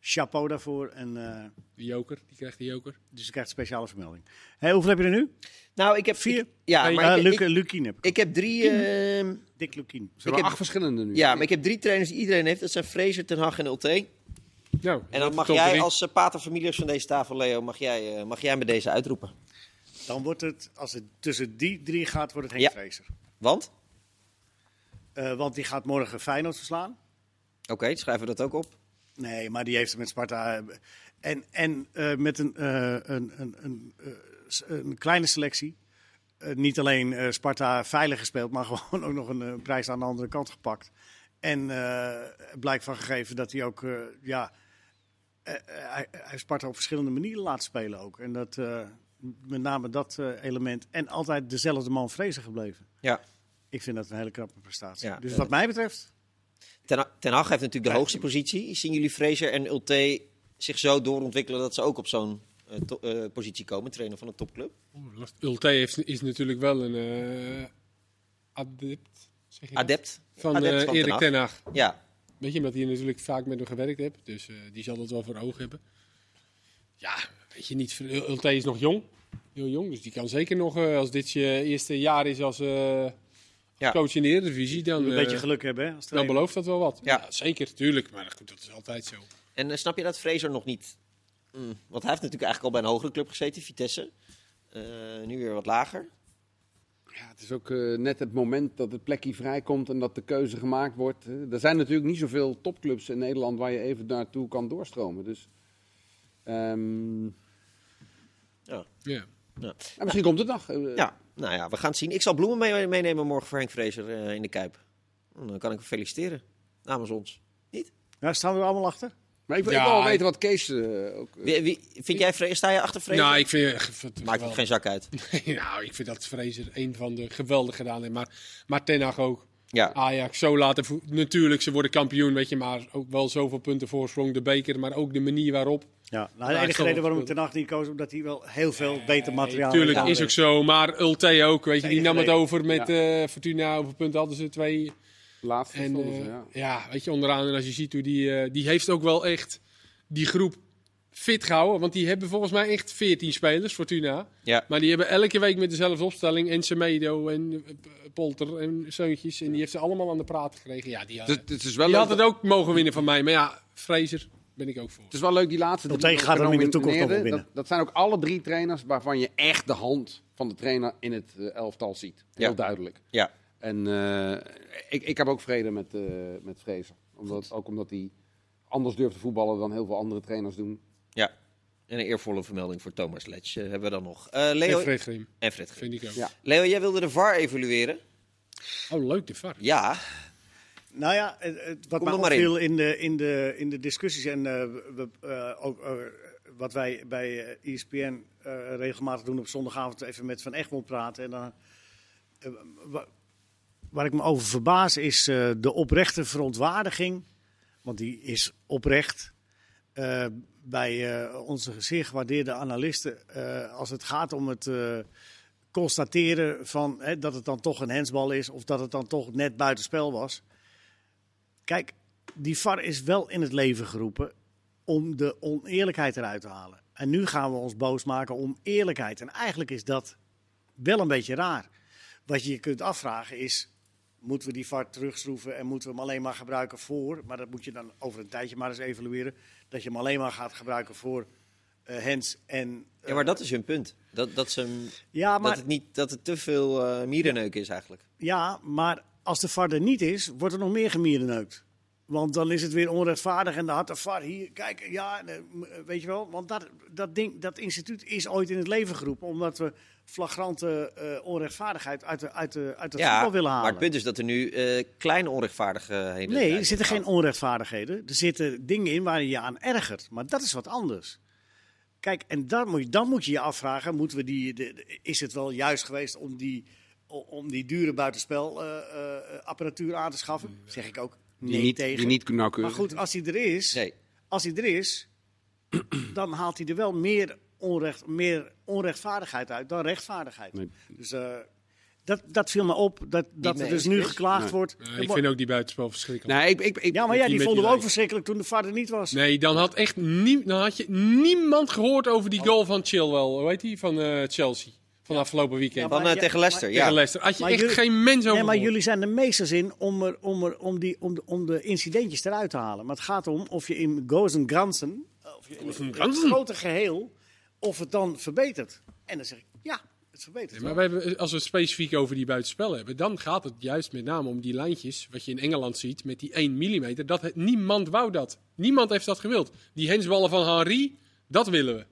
Chapeau daarvoor. En, eh, De Joker, die krijgt de Joker. dus ik krijg een speciale vermelding. Hey, hoeveel heb je er nu? Nou, ik heb Vier? ik- ja, Nee, maar Eh, ik, Luc, ik, Lukien heb ik. ik heb drie. ehm, Dick Lukien. Ze hebben heb- acht verschillende nu. ja, maar ik heb drie trainers die iedereen heeft. Dat zijn Fraser, Ten Hag en Ulte. Nou, En dan mag top jij drie. als eh, pater familias van deze tafel, Leo, mag jij, eh, mag jij me deze uitroepen. Dan wordt het, als het tussen die drie gaat, wordt het Ja. Henk Fraser. Want? Eh, want die gaat morgen Feyenoord verslaan. Oké, schrijven we dat ook op. Nee, maar die heeft het met Sparta. eh, En, en eh, met een, eh, een, een, een, eh, s- een kleine selectie. Eh, niet alleen eh, Sparta veilig gespeeld, maar gewoon ook nog een eh, prijs aan de andere kant gepakt. En eh blijk van gegeven dat hij ook, eh, ja, eh, eh, hij, hij Sparta op verschillende manieren laat spelen ook. En dat, eh, met name dat eh, element. En altijd dezelfde man vrezen gebleven. Ja. Ik vind dat een hele knappe prestatie. Ja, dus eh, wat mij betreft, Ten, Ten Hag heeft natuurlijk de hoogste positie. Zien jullie Fraser en Ulte zich zo doorontwikkelen dat ze ook op zo'n eh, to- eh, positie komen, trainer van een topclub? Oeh, lastig. Ulte heeft, is natuurlijk wel een eh, adept, zeg je dat? Adept. van Adept eh, van Ten Erik Hag. Ten Hag. Ja, Weet je, omdat hij natuurlijk vaak met hem gewerkt heeft. Dus eh, die zal dat wel voor ogen hebben. Ja, weet je niet. Ulte is nog jong. Heel jong. Dus die kan zeker nog, eh, als dit je eerste jaar is als eh, Ja. coach in de Eredivisie, dan, een eh, beetje geluk hebben. Hè, als dan trainer. belooft dat wel wat. Ja. zeker. Tuurlijk. Maar goed, dat is altijd zo. en eh, snap je dat Fraser nog niet... Mm, want hij heeft natuurlijk eigenlijk al bij een hogere club gezeten, Vitesse. Eh, nu weer wat lager. Ja, het is ook eh, net het moment dat het plekje vrijkomt en dat de keuze gemaakt wordt. Eh, er zijn natuurlijk niet zoveel topclubs in Nederland waar je even naartoe kan doorstromen. Dus, ehm, nou, Ja. Ja. Ja. misschien komt het dag. Eh, ja, nou ja, we gaan het zien. Ik zal bloemen mee- meenemen morgen voor Henk Fraser eh, in de Kuip. Hm, Dan kan ik hem feliciteren. Namens ons. Daar staan we allemaal achter. Maar ik, wil- Ja, ik wil wel ik- weten wat Kees eh, ook... eh, Wie, wie- vind jij, Fraser- sta je achter Fraser? Nou, ik vind, ik vind het Maakt wel- hem geen zak uit. nou, ik vind dat Fraser een van de geweldig gedaan heeft. Maar, maar Ten Hag ook. Ja, Ajax zo laten voe- Natuurlijk, ze worden kampioen, weet je. Maar ook wel zoveel punten voorsprong. De beker, maar ook de manier waarop. Ja, nou, hij de is enige toch reden wel waarom ik ten nacht niet koos, omdat hij wel heel veel beter materiaal Tuurlijk, heeft. is ook zo. Maar Ulte ook, weet je, die Enige nam het reden. over met eh, Fortuna. Hoeveel punten hadden ze? Twee. Laatst En stonden eh, ze, ja. ja. weet je, onderaan. En als je ziet hoe die... eh, die heeft ook wel echt die groep fit gehouden. Want die hebben volgens mij echt 14 spelers, Fortuna. ja. Maar die hebben elke week met dezelfde opstelling. En Semedo en eh, P- Polter en Zeuntjes. En die heeft ze allemaal aan de praat gekregen. Ja, die, Dus Het had is- die het, is wel leuk, Dus- had het ook mogen winnen van mij. Maar ja, Fraser ben ik ook voor. het is wel leuk die laatste Tot tegen gaat hem in de genomineerden. toekomst nog wel winnen. Dat, dat zijn ook alle drie trainers waarvan je echt de hand van de trainer in het eh, elftal ziet. Heel Ja. duidelijk. ja. En eh, ik, ik heb ook vrede met, eh met Fraser. Omdat, ook omdat hij anders durft te voetballen dan heel veel andere trainers doen. Ja. En een eervolle vermelding voor Thomas Letch eh, hebben we dan nog. Eh, Leo En Fred Grim, en Fred Grim. vind ik ook. Ja. Leo, jij wilde de VAR evalueren. Oh, leuk de VAR. Ja, Nou ja, het, het- wat Kom mij er maar in. opviel in. de, in, de, in de discussies en eh, we- eh, ook eh, wat wij bij eh, ESPN eh, regelmatig doen op zondagavond even met Van Egmond praten. En dan, eh, wa- waar ik me over verbaas is eh, de oprechte verontwaardiging, want die is oprecht, eh, bij eh, onze zeer gewaardeerde analisten eh, als het gaat om het... eh, constateren van, hè, dat het dan toch een handsbal is of dat het dan toch net buitenspel was. Kijk, die VAR is wel in het leven geroepen om de oneerlijkheid eruit te halen. En nu gaan we ons boos maken om eerlijkheid. En eigenlijk is dat wel een beetje raar. Wat je je kunt afvragen is, moeten we die VAR terugschroeven en moeten we hem alleen maar gebruiken voor... maar dat moet je dan over een tijdje maar eens evalueren... dat je hem alleen maar gaat gebruiken voor eh hands en... eh, ja maar dat is hun punt. Dat, dat, ze, hem- Ja, Ah, maar dat, het, niet, dat het te veel eh mierenneuk is eigenlijk. Ja, maar als de VAR er niet is, wordt er nog meer gemierenneukt. Want dan is het weer onrechtvaardig en dan had de VAR hier... Kijk, ja, eh, m- eh, weet je wel. Want dat, dat, ding, dat instituut is ooit in het leven geroepen... omdat we flagrante eh, onrechtvaardigheid uit, de, uit, de, uit het Ja, voetbal willen halen. maar het punt is dat er nu eh kleine onrechtvaardigheden Nee, zijn. er zitten geen onrechtvaardigheden. Er zitten dingen in waar je je aan ergert. Maar dat is wat anders. Kijk, en dan moet je dan moet je, je afvragen: moeten we die, de- de- is het wel juist geweest om die, o- om die dure buitenspelapparatuur apparatuur aan te schaffen? Zeg ik ook nee Die niet, tegen. Die niet maar nauwkeurig. goed, als hij er is, Nee, als hij er is dan haalt hij er wel meer, onrecht, meer onrechtvaardigheid uit dan rechtvaardigheid. Nee. Dus eh, dat, dat viel me op, dat, dat er mee dus eens nu is? geklaagd Nee. wordt. Eh, ik vind ook die buitenspel verschrikkelijk. Nee, ik, ik, ik, Ja, maar ja, Die die met vonden die we ook lijst. verschrikkelijk toen de vader niet was. Nee, dan had echt nie- dan had je niemand gehoord over die goal van Chilwell. Hoe heet die? Van eh, Chelsea. Van afgelopen weekend. Ja, van eh, ja, tegen Leicester, Tegen ja. Leicester. Had je Maar echt jullie- geen mens over Nee, maar gehoord. jullie zijn de meesters in om, er, om, er, om, die, om, de, om de incidentjes eruit te halen. Maar het gaat om of je in Goes en Gransen, of je in het, het Gransen. grote geheel, of het dan verbetert. En dan zeg ik, ja, het verbetert. Nee, maar we hebben, als we het specifiek over die buitenspel hebben, dan gaat het juist met name om die lijntjes, wat je in Engeland ziet, met die 1 mm. Dat het, niemand wou dat. Niemand heeft dat gewild. Die hensballen van Henri, dat willen we.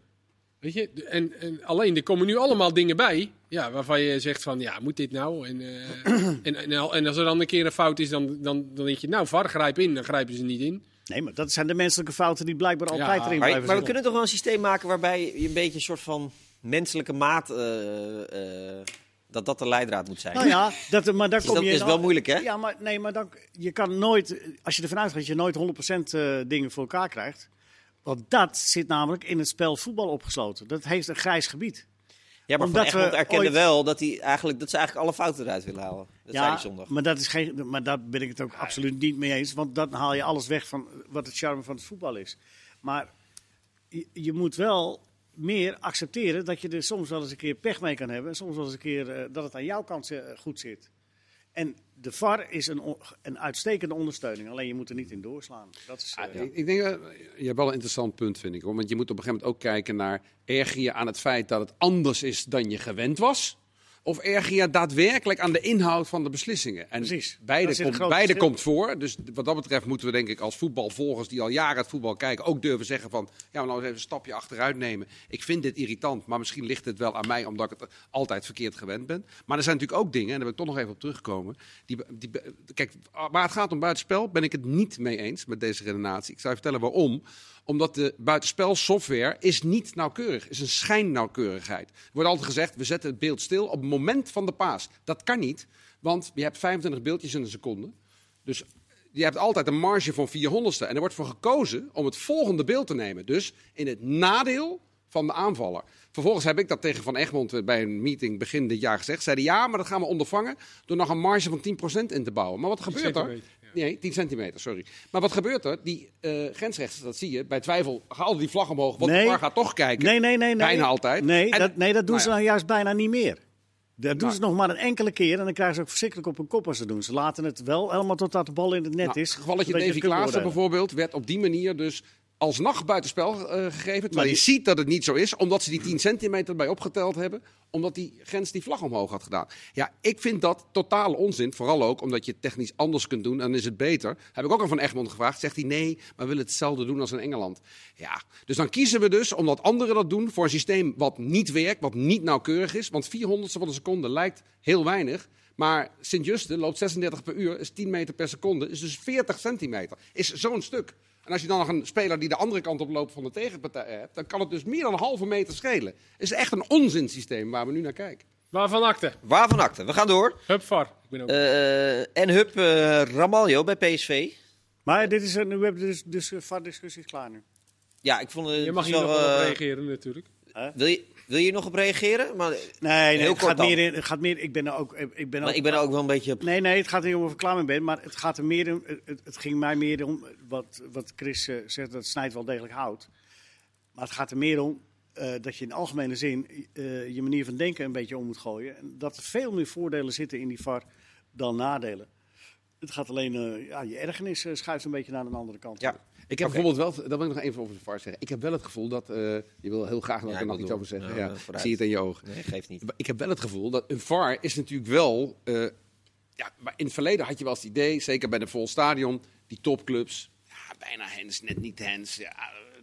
Weet je, de- en, en alleen er komen nu allemaal dingen bij ja, waarvan je zegt van ja, moet dit nou? En, eh, en, en, al- en als er dan een keer een fout is, dan, dan, dan denk je nou, VAR grijp in, dan grijpen ze niet in. Nee, maar dat zijn de menselijke fouten die blijkbaar Ja, altijd Maar, erin blijven maar we zitten. kunnen toch wel een systeem maken waarbij je een beetje een soort van menselijke maat. eh, eh, dat dat de leidraad moet zijn. Nou ja, dat, maar daar Is kom dat- je is dan- wel moeilijk, hè? Ja, maar, nee, maar dan, je kan nooit, als je ervan uitgaat dat je nooit 100% eh, dingen voor elkaar krijgt. Want dat zit namelijk in het spel voetbal opgesloten. Dat heeft een grijs gebied. ja, maar Van omdat we Egmond erkende ooit- wel dat, hij eigenlijk, dat ze eigenlijk alle fouten eruit willen halen. Dat zei hij zondag. Maar, dat is geen, maar daar ben ik het ook absoluut niet mee eens. Want dan haal je alles weg van wat het charme van het voetbal is. Maar je, je moet wel meer accepteren dat je er soms wel eens een keer pech mee kan hebben. En soms wel eens een keer eh, dat het aan jouw kant eh, goed zit. En de VAR is een, on- een uitstekende ondersteuning. Alleen je moet er niet in doorslaan. Dat is, Ah, eh, Ik, ik denk, eh, je hebt wel een interessant punt, vind ik. Hoor. Want je moet op een gegeven moment ook kijken naar... erger je aan het feit dat het anders is dan je gewend was... Of erger je daadwerkelijk aan de inhoud van de beslissingen? En Precies. Daar beide, zit een komt, groot beide verschil. komt voor. Dus wat dat betreft moeten we denk ik als voetbalvolgers die al jaren het voetbal kijken... ook durven zeggen van, ja, maar nou eens even een stapje achteruit nemen. Ik vind dit irritant, maar misschien ligt het wel aan mij... omdat ik het altijd verkeerd gewend ben. Maar er zijn natuurlijk ook dingen, en daar wil ik toch nog even op terugkomen... Die, be- die, be- kijk, waar het gaat om buitenspel ben ik het niet mee eens met deze redenatie. Ik zou je vertellen waarom. Omdat de buitenspelsoftware is niet nauwkeurig. is een schijnnauwkeurigheid. Er wordt altijd gezegd, we zetten het beeld stil op het moment van de paas. Dat kan niet, want je hebt 25 beeldjes in een seconde. Dus je hebt altijd een marge van 400ste. En er wordt voor gekozen om het volgende beeld te nemen. Dus in het nadeel van de aanvaller. Vervolgens heb ik dat tegen Van Egmond eh, bij een meeting begin dit jaar gezegd. Zeiden ja, maar dat gaan we ondervangen door nog een marge van 10% in te bouwen. Maar wat gebeurt er? centimeter, Nee, 10 centimeter, sorry. Maar wat gebeurt er? Die eh grensrechters, dat zie je, bij twijfel haalden die vlag omhoog. Want Nee. de VAR gaat toch kijken. Nee, nee, nee. nee. Bijna altijd. Nee, En- dat, nee, dat doen nou ze ja. nou juist bijna niet meer. Dat doen Nou. ze nog maar een enkele keer en dan krijgen ze ook verschrikkelijk op hun kop als ze doen. Ze laten het wel helemaal totdat de bal in het net Nou, is. Het gevalletje zodat je Davy het kunt Klaassen beoordelen. bijvoorbeeld werd op die manier dus alsnog buitenspel eh, gegeven. Terwijl Maar je die- ziet dat het niet zo is, omdat ze die 10 centimeter erbij opgeteld hebben. Omdat die grens die vlag omhoog had gedaan. Ja, ik vind dat totale onzin. Vooral ook omdat je het technisch anders kunt doen en is het beter. Heb ik ook aan Van Egmond gevraagd. Zegt hij nee, maar we willen hetzelfde doen als in Engeland. Ja, dus dan kiezen we dus, omdat anderen dat doen, voor een systeem wat niet werkt, wat niet nauwkeurig is. Want 400ste van een seconde lijkt heel weinig. Maar Sint-Juste loopt 36 per uur, is 10 meter per seconde, is dus 40 centimeter. Is zo'n stuk. En als je dan nog een speler die de andere kant op loopt van de tegenpartij hebt, dan kan het dus meer dan een halve meter schelen. Is echt een onzinsysteem waar we nu naar kijken. Waarvan akte? Waarvan akte? We gaan door. Hup, VAR. Ik ben ook... Eh, en Hup eh Ramaljo bij PSV. Maar dit is, een- nu hebben we dus, dus eh, VAR-discussie is klaar nu. Ja, ik vond eh, je het mag is hier nog wel, wel op eh, reageren natuurlijk. Wil je, wil je hier nog op reageren? Maar, Nee, nee Heel het kort gaat dan. meer, in, het gaat meer, ik ben er ook... Ik ben maar ook ik ben er ook wel een beetje... Nee, nee, het gaat niet om of ik klaar mee ben, maar het, gaat er meer om, het, het ging mij meer om eh, wat, wat Chris eh, zegt, dat snijdt wel degelijk hout. Maar het gaat er meer om eh, dat je in algemene zin eh, je manier van denken een beetje om moet gooien. En dat er veel meer voordelen zitten in die VAR dan nadelen. Het gaat alleen, eh, ja, je ergernis eh, schuift een beetje naar een andere kant. Ja. toe. Ik heb Oké. bijvoorbeeld wel, dat wil ik nog even over de VAR zeggen. Ik heb wel het gevoel dat, eh, je wil heel graag dat Ja, ik ik er nog wil iets door. over zeggen. Ja, Ja, eh, ik vooruit. zie het in je ogen. Nee, geeft niet. Ik heb wel het gevoel dat een VAR is natuurlijk wel. eh, ja, maar in het verleden had je wel eens het idee, zeker bij de vol stadion, die topclubs. Ja, bijna hens, net niet hens. Ja, eh,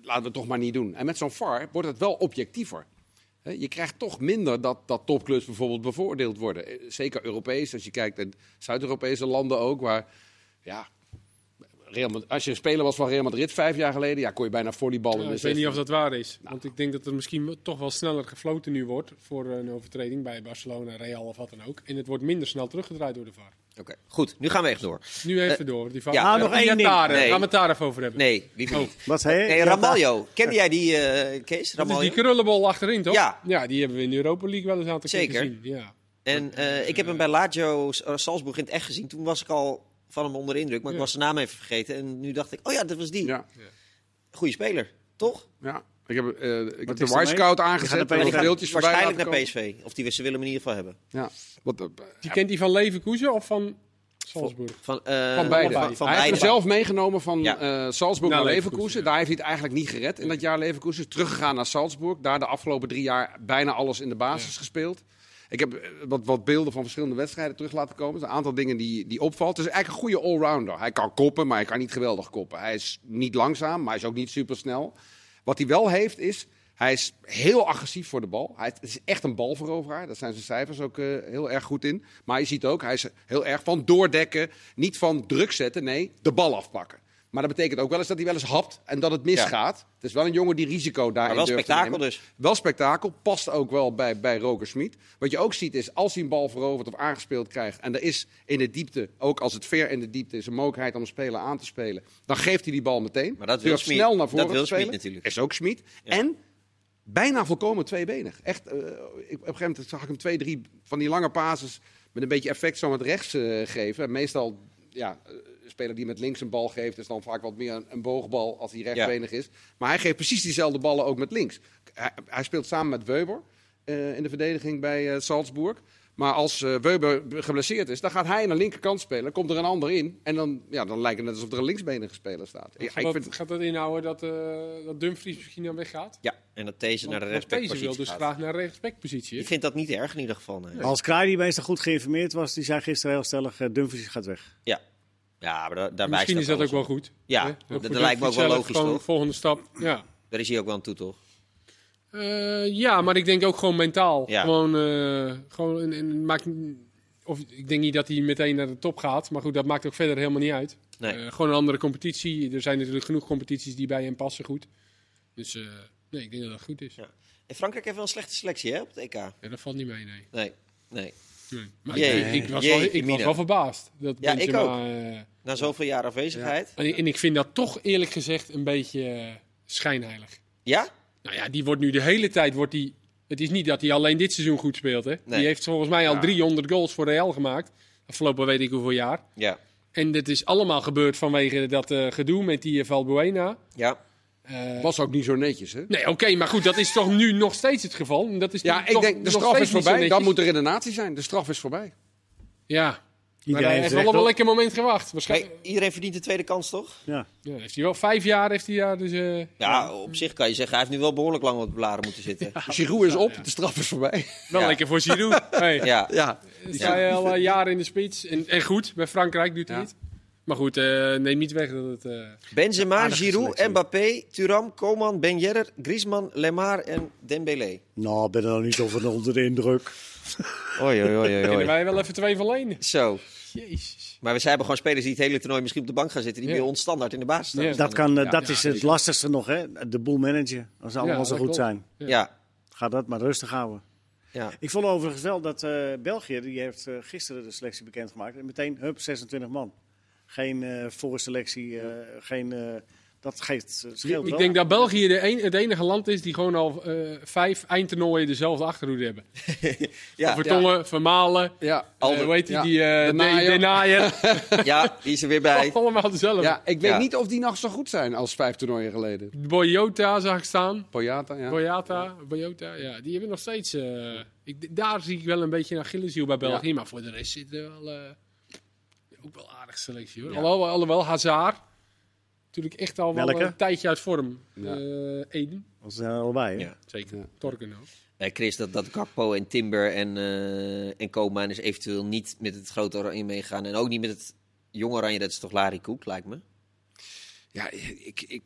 laten we het toch maar niet doen. En met zo'n VAR wordt het wel objectiever. Hè, Je krijgt toch minder dat, dat topclubs bijvoorbeeld bevoordeeld worden. Eh, Zeker Europees, als je kijkt naar Zuid-Europese landen ook, waar ja, Real Madrid- als je een speler was van Real Madrid vijf jaar geleden, ja, kon je bijna volleyballen. in Ja, de ik weet niet 16. of dat waar is. Nou. Want ik denk dat er misschien wel- toch wel sneller gefloten nu wordt voor een overtreding bij Barcelona, Real of wat dan ook. En het wordt minder snel teruggedraaid door de VAR. Oké, goed. Nu gaan we echt door. Nu even door. Die VAR. Eh, ja. Nou, nog één ding. Iataren. Nee. Gaan we het daar even over hebben. Nee, liever niet. Wat zei je? Nee, Ja, Ramaljo. Kende jij die, eh Kees? Dat is die Ramaljo? krullenbol achterin, toch? Ja. die hebben we in de Europa League wel eens aan te Zeker. gezien. Ja. En eh, ik heb hem bij Lazio eh, Salzburg in het echt gezien. Toen was ik al van hem onder indruk, maar ik Ja. was zijn naam even vergeten. En nu dacht ik, oh ja, dat was die. Ja. Goeie speler, toch? Ja, ik heb, eh, ik heb de is er mee? Wisecout Die aangezet. gaat en naar wat die PSV. beeldjes voorbij waarschijnlijk laten naar komen. PSV. Of die, ze willen hem in ieder geval hebben. Ja, wat, eh, Die kent die van Leverkusen of van Salzburg? Van, eh, van beide. Van, van hij heeft beide. hem zelf meegenomen van Ja. eh, Salzburg Naar naar Nou, Leverkusen, Leverkusen. ja. Daar heeft hij het eigenlijk niet gered in dat jaar Leverkusen. Is Teruggegaan naar Salzburg. Daar de afgelopen drie jaar bijna alles in de basis gespeeld. Ik heb eh, wat, wat beelden van verschillende wedstrijden terug laten komen. Er zijn een aantal dingen die, die opvalt. Het is eigenlijk een goede allrounder. Hij kan koppen, maar hij kan niet geweldig koppen. Hij is niet langzaam, maar hij is ook niet supersnel. Wat hij wel heeft is, hij Hij is heel agressief voor de bal. Hij het is echt een balveroveraar. Daar zijn zijn cijfers ook eh, heel erg goed in. Maar je ziet ook, hij is heel erg van doordekken. Niet van druk zetten, nee, de bal afpakken. Maar dat betekent ook wel eens dat hij wel eens hapt en dat het misgaat. Het is wel een jongen die risico daarin wel durft te spektakel nemen. dus. Wel spektakel, past ook wel bij, bij Roger Smit. Wat je ook ziet is, als hij een bal verovert of aangespeeld krijgt... en er is in de diepte, ook als het ver in de diepte is... een mogelijkheid om een speler aan te spelen... dan geeft hij die bal meteen. Maar dat wil Durft Smit. snel naar Dat voren wil te Smit spelen. natuurlijk. Is ook Smit. En bijna volkomen tweebenig. Echt, eh, ik, op een gegeven moment zag ik hem twee, drie van die lange pases... met een beetje effect zo met rechts eh, geven. En meestal... Ja, eh, een speler die met links een bal geeft, is dan vaak wat meer een, een boogbal als hij rechtsbenig is is. Maar hij geeft precies diezelfde ballen ook met links. Hij, hij speelt samen met Weber eh, in de verdediging bij eh, Salzburg. Maar als eh, Weber geblesseerd is, dan gaat hij aan de linkerkant spelen. Komt er een ander in. En dan, ja, dan lijkt het net alsof er een linksbenige speler staat. Ja, Gaat, ik dat, vind- gaat dat inhouden dat, eh, dat Dumfries misschien dan weggaat? Ja, en dat deze naar de Want deze rechtsbackpositie wil dus gaat. graag naar de rechtsbackpositie. Ik vind dat niet erg in ieder geval. nee. Als Kraai, die meestal goed geïnformeerd was, die zei gisteren heel stellig: eh, Dumfries gaat weg. Ja. ja, maar da- daar wijst Misschien is dat ook alles wel op. goed. Ja, Hè? dat- voor dat de lijkt me ook wel zelf logisch, gewoon toch? Volgende stap, ja. Daar is hij ook wel aan toe, toch? Eh, ja, maar ik denk ook gewoon mentaal. Ja. Gewoon, eh, gewoon en, en maakt, of, ik denk niet dat hij meteen naar de top gaat. Maar goed, dat maakt ook verder helemaal niet uit. Nee. Eh, gewoon een andere competitie. Er zijn natuurlijk genoeg competities die bij hem passen goed. Dus eh, nee, ik denk dat dat goed is. Ja. En Frankrijk heeft wel een slechte selectie hè, op het EK. Ja, dat valt niet mee, nee. Nee, nee. nee. Maar Jee, ik, ik was jee, wel, ik was Mina. wel verbaasd. Dat Ja, ik Benzema, ook. eh, Na zoveel jaar afwezigheid. en, ik- en ik vind dat toch eerlijk gezegd een beetje eh, schijnheilig. Ja? Nou ja, die wordt nu de hele tijd. Wordt die, het is niet dat hij alleen dit seizoen goed speelt. Hè? Nee. Die heeft volgens mij al 300 goals voor Real gemaakt. Afgelopen weet ik hoeveel jaar. Ja. En dit is allemaal gebeurd vanwege dat eh, gedoe met die eh, Valbuena. Ja. Eh, was ook niet zo netjes, hè? nee, oké, maar goed, dat is toch nu nog steeds het geval? En Dat is nu Ja, ik toch denk, de nog straf is steeds niet zo voorbij. Dan netjes. moet er redenatie zijn. De straf is voorbij. Ja, maar Iedereen hij heeft heeft recht wel op een op- lekker moment gewacht. Waarschijnlijk. Hey, iedereen verdient de tweede kans, toch? Ja. Ja, heeft hij wel vijf jaar, heeft hij daar dus... eh, Ja, op zich kan je zeggen, hij heeft nu wel behoorlijk lang op de blaren moeten zitten. Ah, Ja. Giroud is op, de straf is voorbij. wel Ja. lekker voor Giroud. Hey. Ja. Ja, Dan sta je al eh, jaren in de spits. En, en goed, bij Frankrijk doet hij Ja. het. Maar goed, eh, neem niet weg dat het... eh, Benzema, Aardige Giroud, selectie. Mbappé, Thuram, Coman, Ben Yedder, Griezmann, Lemar en Dembélé. Nou, ik ben er nog niet over onder de indruk. Oei, oei, oei, Kunnen wij wel even twee van lenen? Zo. Jezus. Maar we zijn gewoon spelers die het hele toernooi misschien op de bank gaan zitten. Die Ja. bij ons standaard in de baas staan. Ja. Staan. Dat, kan, eh, Ja, dat ja, is het zeker. lastigste nog, hè? De boel managen. Als ze allemaal Ja, zo dat goed klopt. zijn, Ja. ga dat maar rustig houden. ja. Ik vond overigens wel dat eh, België, die heeft eh, gisteren de selectie bekendgemaakt. En meteen, hup, 26 man. Geen eh, voorselectie, eh, geen... eh, dat geeft, eh, scheelt Ik wel. denk dat België de een- het enige land is die gewoon al eh, vijf eindtoernooien dezelfde achterhoede hebben. Ja. Vertongen, Vermalen, ja. eh, hoe heet die, ja. die eh, De De- Naaier. Denaaier. ja, die is er weer bij. Allemaal dezelfde. Ja, ik weet Ja. niet of die nog zo goed zijn als vijf toernooien geleden. Boyota zag ik staan. Boyata, ja. Boyata, Boyota, ja, die hebben nog steeds... eh, ik, daar zie ik wel een beetje naar Gilleshiel bij België, maar voor de rest zit er wel... eh, ook wel aardig selectie hoor. Ja. Alhoewel, alhoewel Hazard, natuurlijk echt al wel Welke? een tijdje uit vorm. Ja. Eh, Eden, Dat zijn er allebei, hè? Ja. zeker. Ja. Torken ook. Eh, Chris, dat, dat Gakpo en Timber en, eh en Koeman is eventueel niet met het grote oranje meegaan. En ook niet met het jonge oranje. Dat is toch Larry Koek, lijkt me. Ja, ik, ik,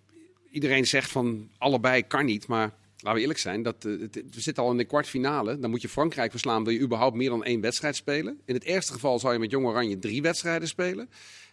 iedereen zegt van allebei kan niet, maar laten we eerlijk zijn. Dat, eh, het- we zitten al in de kwartfinale. Dan moet je Frankrijk verslaan. Wil je überhaupt meer dan één wedstrijd spelen? In het ergste geval zou je met Jong Oranje drie wedstrijden spelen.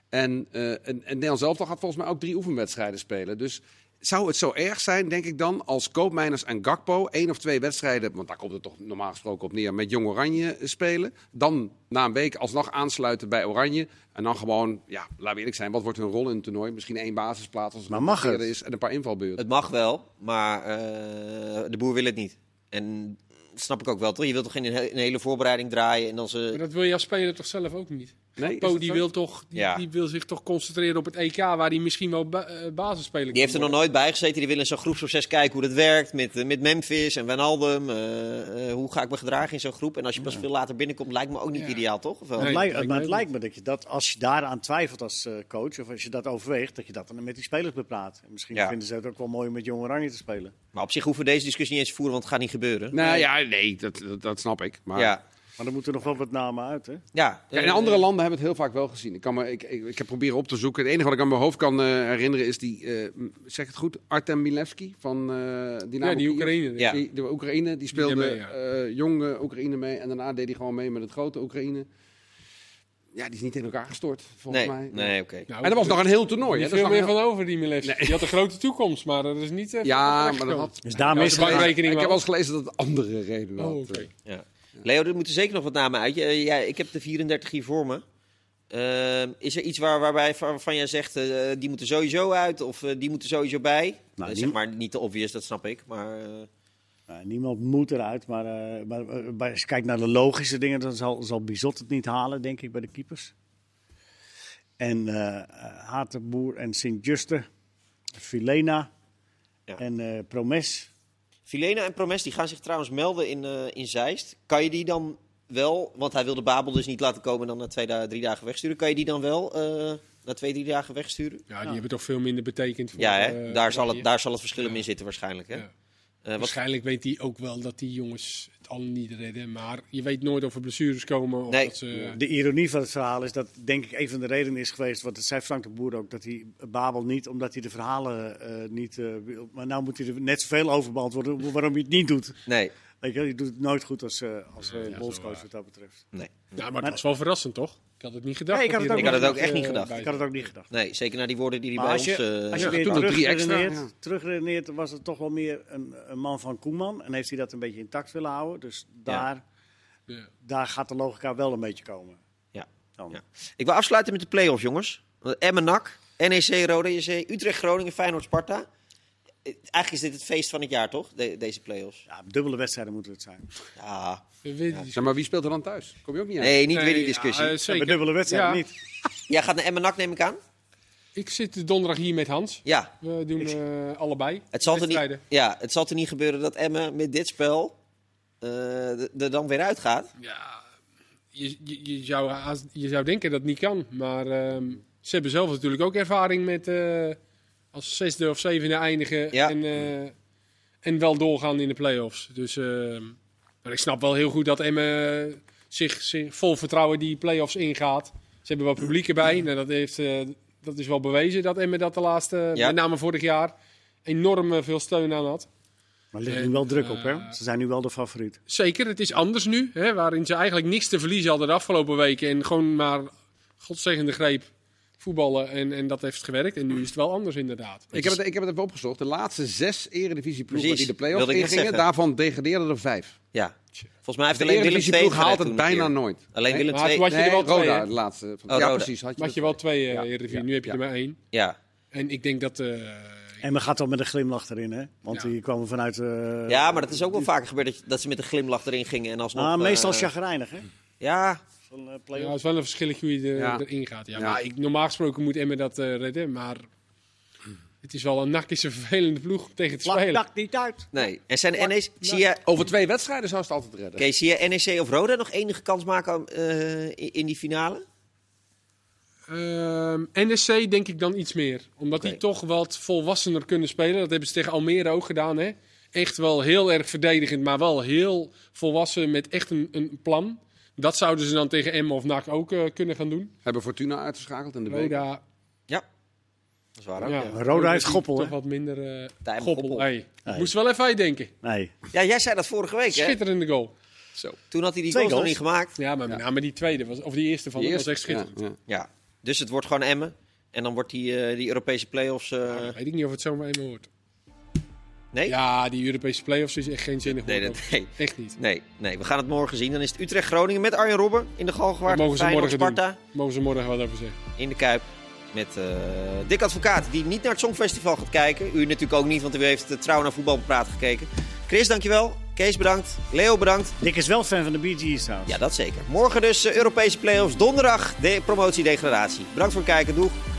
En, eh en, en Nederland zelf gaat volgens mij ook drie oefenwedstrijden spelen. Dus zou het zo erg zijn, denk ik dan, als Koopmeiners en Gakpo één of twee wedstrijden, want daar komt het toch normaal gesproken op neer, met Jong Oranje eh, spelen. Dan na een week alsnog aansluiten bij Oranje. En dan gewoon, ja, laten we eerlijk zijn, wat wordt hun rol in het toernooi? Misschien één basisplaats als het Maar mag het? geblesseerd is en een paar invalbeurten. Het mag wel, maar eh, de boer wil het niet. En dat snap ik ook wel, toch? Je wilt toch geen he- een hele voorbereiding draaien en dan Maar ze... dat wil je als speler toch zelf ook niet? Nee, is Po, dat die zo? wil, toch, die, Ja. die wil zich toch concentreren op het EK, waar hij misschien wel ba eh, basisspeler Die heeft er kan nog nooit worden. bij gezeten. Die wil in zo'n groepsproces kijken hoe dat werkt. Met, eh, met Memphis en Wijnaldum. Eh, eh, hoe ga ik me gedragen in zo'n groep? En als je pas veel later binnenkomt, lijkt me ook niet Ja. ideaal, toch? Of wel? Nee. Het lijkt- lijkt maar mij het ook lijkt me dat je dat, als je daaraan twijfelt als eh, coach, of als je dat overweegt, dat je dat dan met die spelers bepraat. En Misschien Ja. vinden ze het ook wel mooi om met Jong Oranje te spelen. Maar op zich hoeven we deze discussie niet eens te voeren, want het gaat niet gebeuren. Nou ja, nee, dat, dat, dat snap ik. Maar Ja. Maar dan moeten er nog wel wat namen uit, hè? Ja, Ja, in eh, andere landen hebben we het heel vaak wel gezien. Ik, kan me, ik, ik, ik heb proberen op te zoeken. Het enige wat ik aan mijn hoofd kan eh, herinneren is die, eh, m- zeg het goed, Artem Milevski van eh Dynamo Ja, die Kiev. Oekraïne. Ja. Die, de Oekraïne, die speelde daarmee, ja. eh, jonge Oekraïne mee. En daarna deed hij gewoon mee met het grote Oekraïne. Ja, die is niet in elkaar gestort, volgens nee, mij. nee, oké. Nou, En dat was nog een heel toernooi. niet hè? Dat is veel nog een meer heel- van over, die Milevski. Die had een grote toekomst, maar dat is niet... eh, Ja, van maar dat uitgekomen. had... Dus daarmee Ja, is ze waren- het... bankrekening Ik heb wel. wel eens gelezen dat het andere reden had. eh. Oh, oké. Ja. Leo, er moeten zeker nog wat namen uit. Je- eh, ja, ik heb de 34 hier voor me. Ehm, is er iets waar, waarbij, van- waarvan jij zegt, eh, die moeten sowieso uit of eh, die moeten sowieso bij? Eh, niet- zeg maar niet te obvious, dat snap ik. Maar eh, Nou, niemand moet eruit, maar, eh, maar, eh, maar als je kijkt naar de logische dingen, dan zal, zal Bizot het niet halen, denk ik, bij de keepers. En eh eh, Hatenboer en Sint-Juste, Filena Ja. en eh, Promes. Filena en Promes die gaan zich trouwens melden in, eh, in Zeist. Kan je die dan wel, want hij wilde Babel dus niet laten komen en dan na twee, da- drie dagen wegsturen. Kan je die dan wel eh, na twee, drie dagen wegsturen? Ja, die hebben toch veel minder betekend voor... Ja, hè? eh, daar, zal hier. het, daar zal het verschil in zitten waarschijnlijk. Hè? Ja. Eh, wat, Waarschijnlijk weet hij ook wel dat die jongens het al niet redden. Maar je weet nooit of er blessures komen. Of Nee. dat ze, Nou, De ironie van het verhaal is dat, denk ik, een van de redenen is geweest, want dat zei Frank de Boer ook, dat hij Babel niet, omdat hij de verhalen eh, niet eh, wil. Maar nou moet hij er net zoveel over beantwoorden waarom hij het niet doet. nee, Weet je, wel, je doet het nooit goed als, eh als eh, dat is wel bondscoach waar. wat dat betreft. nee. Ja, maar het was wel verrassend, toch? Ik had het niet gedacht. Nee, ik dat had die het er ook- Ik had het nog, ook echt eh, niet gedacht. bij Ik had het ook niet gedacht. Nee, nee, zeker naar die woorden die hij Maar bij als ons... je, eh, als je ja, weer toen nog drie terugredeneert, extra, ja. terugredeneert, was het toch wel meer een, een man van Koeman. En heeft hij dat een beetje intact willen houden. Dus daar, Ja. daar gaat de logica wel een beetje komen. Ja. Dan. Ja. Ik wil afsluiten met de play-offs, jongens. Want Emmen NAC, NEC E Rode JC, Utrecht Groningen, Feyenoord Sparta. Eh, Eigenlijk is dit het feest van het jaar, toch? De- deze play-offs. Ja, dubbele wedstrijden moeten het zijn. Ja. We weten die- Zeg maar, wie speelt er dan thuis? Kom je ook niet uit? Nee, niet weer die Nee, discussie. ja, eh, Bij zeker. dubbele wedstrijden Ja. niet. Jij gaat naar Emmen NAC, neem ik aan? Ik zit donderdag hier met Hans. Ja. We doen Ik- eh, allebei. Het zal, er niet, wedstrijden. ja, het zal er niet gebeuren dat Emmen met dit spel eh, d- er dan weer uitgaat. Ja, je, je, je zou, haast- je zou denken dat het niet kan. Maar ehm, ze hebben zelf natuurlijk ook ervaring met eh, als zesde of zevende eindigen. Ja. En, eh, en wel doorgaan in de play-offs. Dus ehm, maar ik snap wel heel goed dat Emme zich, zich vol vertrouwen die play-offs ingaat. Ze hebben wel publiek erbij. Nou, dat, heeft, eh, dat is wel bewezen dat Emme dat de laatste, Ja. met name vorig jaar, enorm eh, veel steun aan had. Maar er ligt nu wel druk op, eh, hè? Ze zijn nu wel de favoriet. Zeker, het is anders nu. Hè, waarin ze eigenlijk niks te verliezen hadden de afgelopen weken. En gewoon maar godzegende greep voetballen. En, en dat heeft gewerkt. En nu is het wel anders inderdaad. Ik heb, het, ik heb het even opgezocht. De laatste zes eredivisieploegen Precies, die de play-offs wilde ik net ingingen, zeggen. daarvan degradeerden er vijf. Ja. Volgens mij heeft De alleen Willem II eredivisieploeg haalt gehad het toen een bijna keer. nooit. Alleen Nee, Willem maar toen II. had je er wel Nee, Roda, twee, hè? de laatste. Oh, ja, Roda. precies. Had je, Had er je wel twee. twee eh Ja, Eredivisie, ja, nu heb je ja. er maar één. Ja. En ik denk dat... eh, En we gaan wel met een glimlach erin, hè? Want Ja. die kwamen vanuit... eh, ja, maar dat is ook wel vaker gebeurd dat, je- dat ze met een glimlach erin gingen. En alsnog, Ah, meestal eh, chagrijnig, hè? Ja, Van, eh, ja, play-off. het is wel een verschilletje hoe je er, Ja. erin gaat. Ja, Ja. Maar ik, normaal gesproken moet Emmen dat eh, redden. Maar het is wel een nak is een vervelende ploeg om tegen te Plak spelen. dak niet uit. nee. En zijn NEC... Zie je, Over twee wedstrijden zou ze het altijd redden. Oké, zie je NEC of Roda nog enige kans maken om, eh, in, in die finale? Ehm, NSC denk ik dan iets meer. Omdat Oké. die toch wat volwassener kunnen spelen. Dat hebben ze tegen Almere ook gedaan. Hè? Echt wel heel erg verdedigend, maar wel heel volwassen met echt een, een plan. Dat zouden ze dan tegen Emmen of NAC ook eh, kunnen gaan doen. Hebben Fortuna uitgeschakeld in de week. Roda, Ja, dat is waar ook. ja, Ja. Roda heeft die Goppel, Toch hè? wat minder eh, Tijmen Goppel. Goppel. Hey, Hey. Moest wel even uitdenken. Nee. Ja, jij zei dat vorige week, hè? Schitterende goal. Toen had hij die goals Twee nog goals. niet gemaakt. Ja, maar met name die tweede, was, of die eerste van Die hem was eerste. echt schitterend. Ja, ja. Ja, dus het wordt gewoon Emmen. En dan wordt die, eh, die Europese play-offs... eh, Weet ik niet of het zomaar even hoort. nee? Ja, die Europese play-offs is echt geen zinnig Nee, woord. dat- nee. Echt niet. Nee, nee, we gaan het morgen zien. Dan is het Utrecht-Groningen met Arjen Robben in de Galgenwaard. Dat mogen ze Feyenoord, morgen Sparta Mogen ze morgen wat over zeggen. in de Kuip. Met eh Dick Advocaat, die niet naar het Songfestival gaat kijken. U natuurlijk ook niet, want u heeft eh, trouw naar voetbalpraat gekeken. Chris, dankjewel. Kees, bedankt. Leo, bedankt. Dick is wel fan van de Bee Gees, trouwens. Ja, dat zeker. Morgen dus eh, Europese play-offs. Donderdag de promotie-degradatie. Bedankt voor het kijken. Doeg.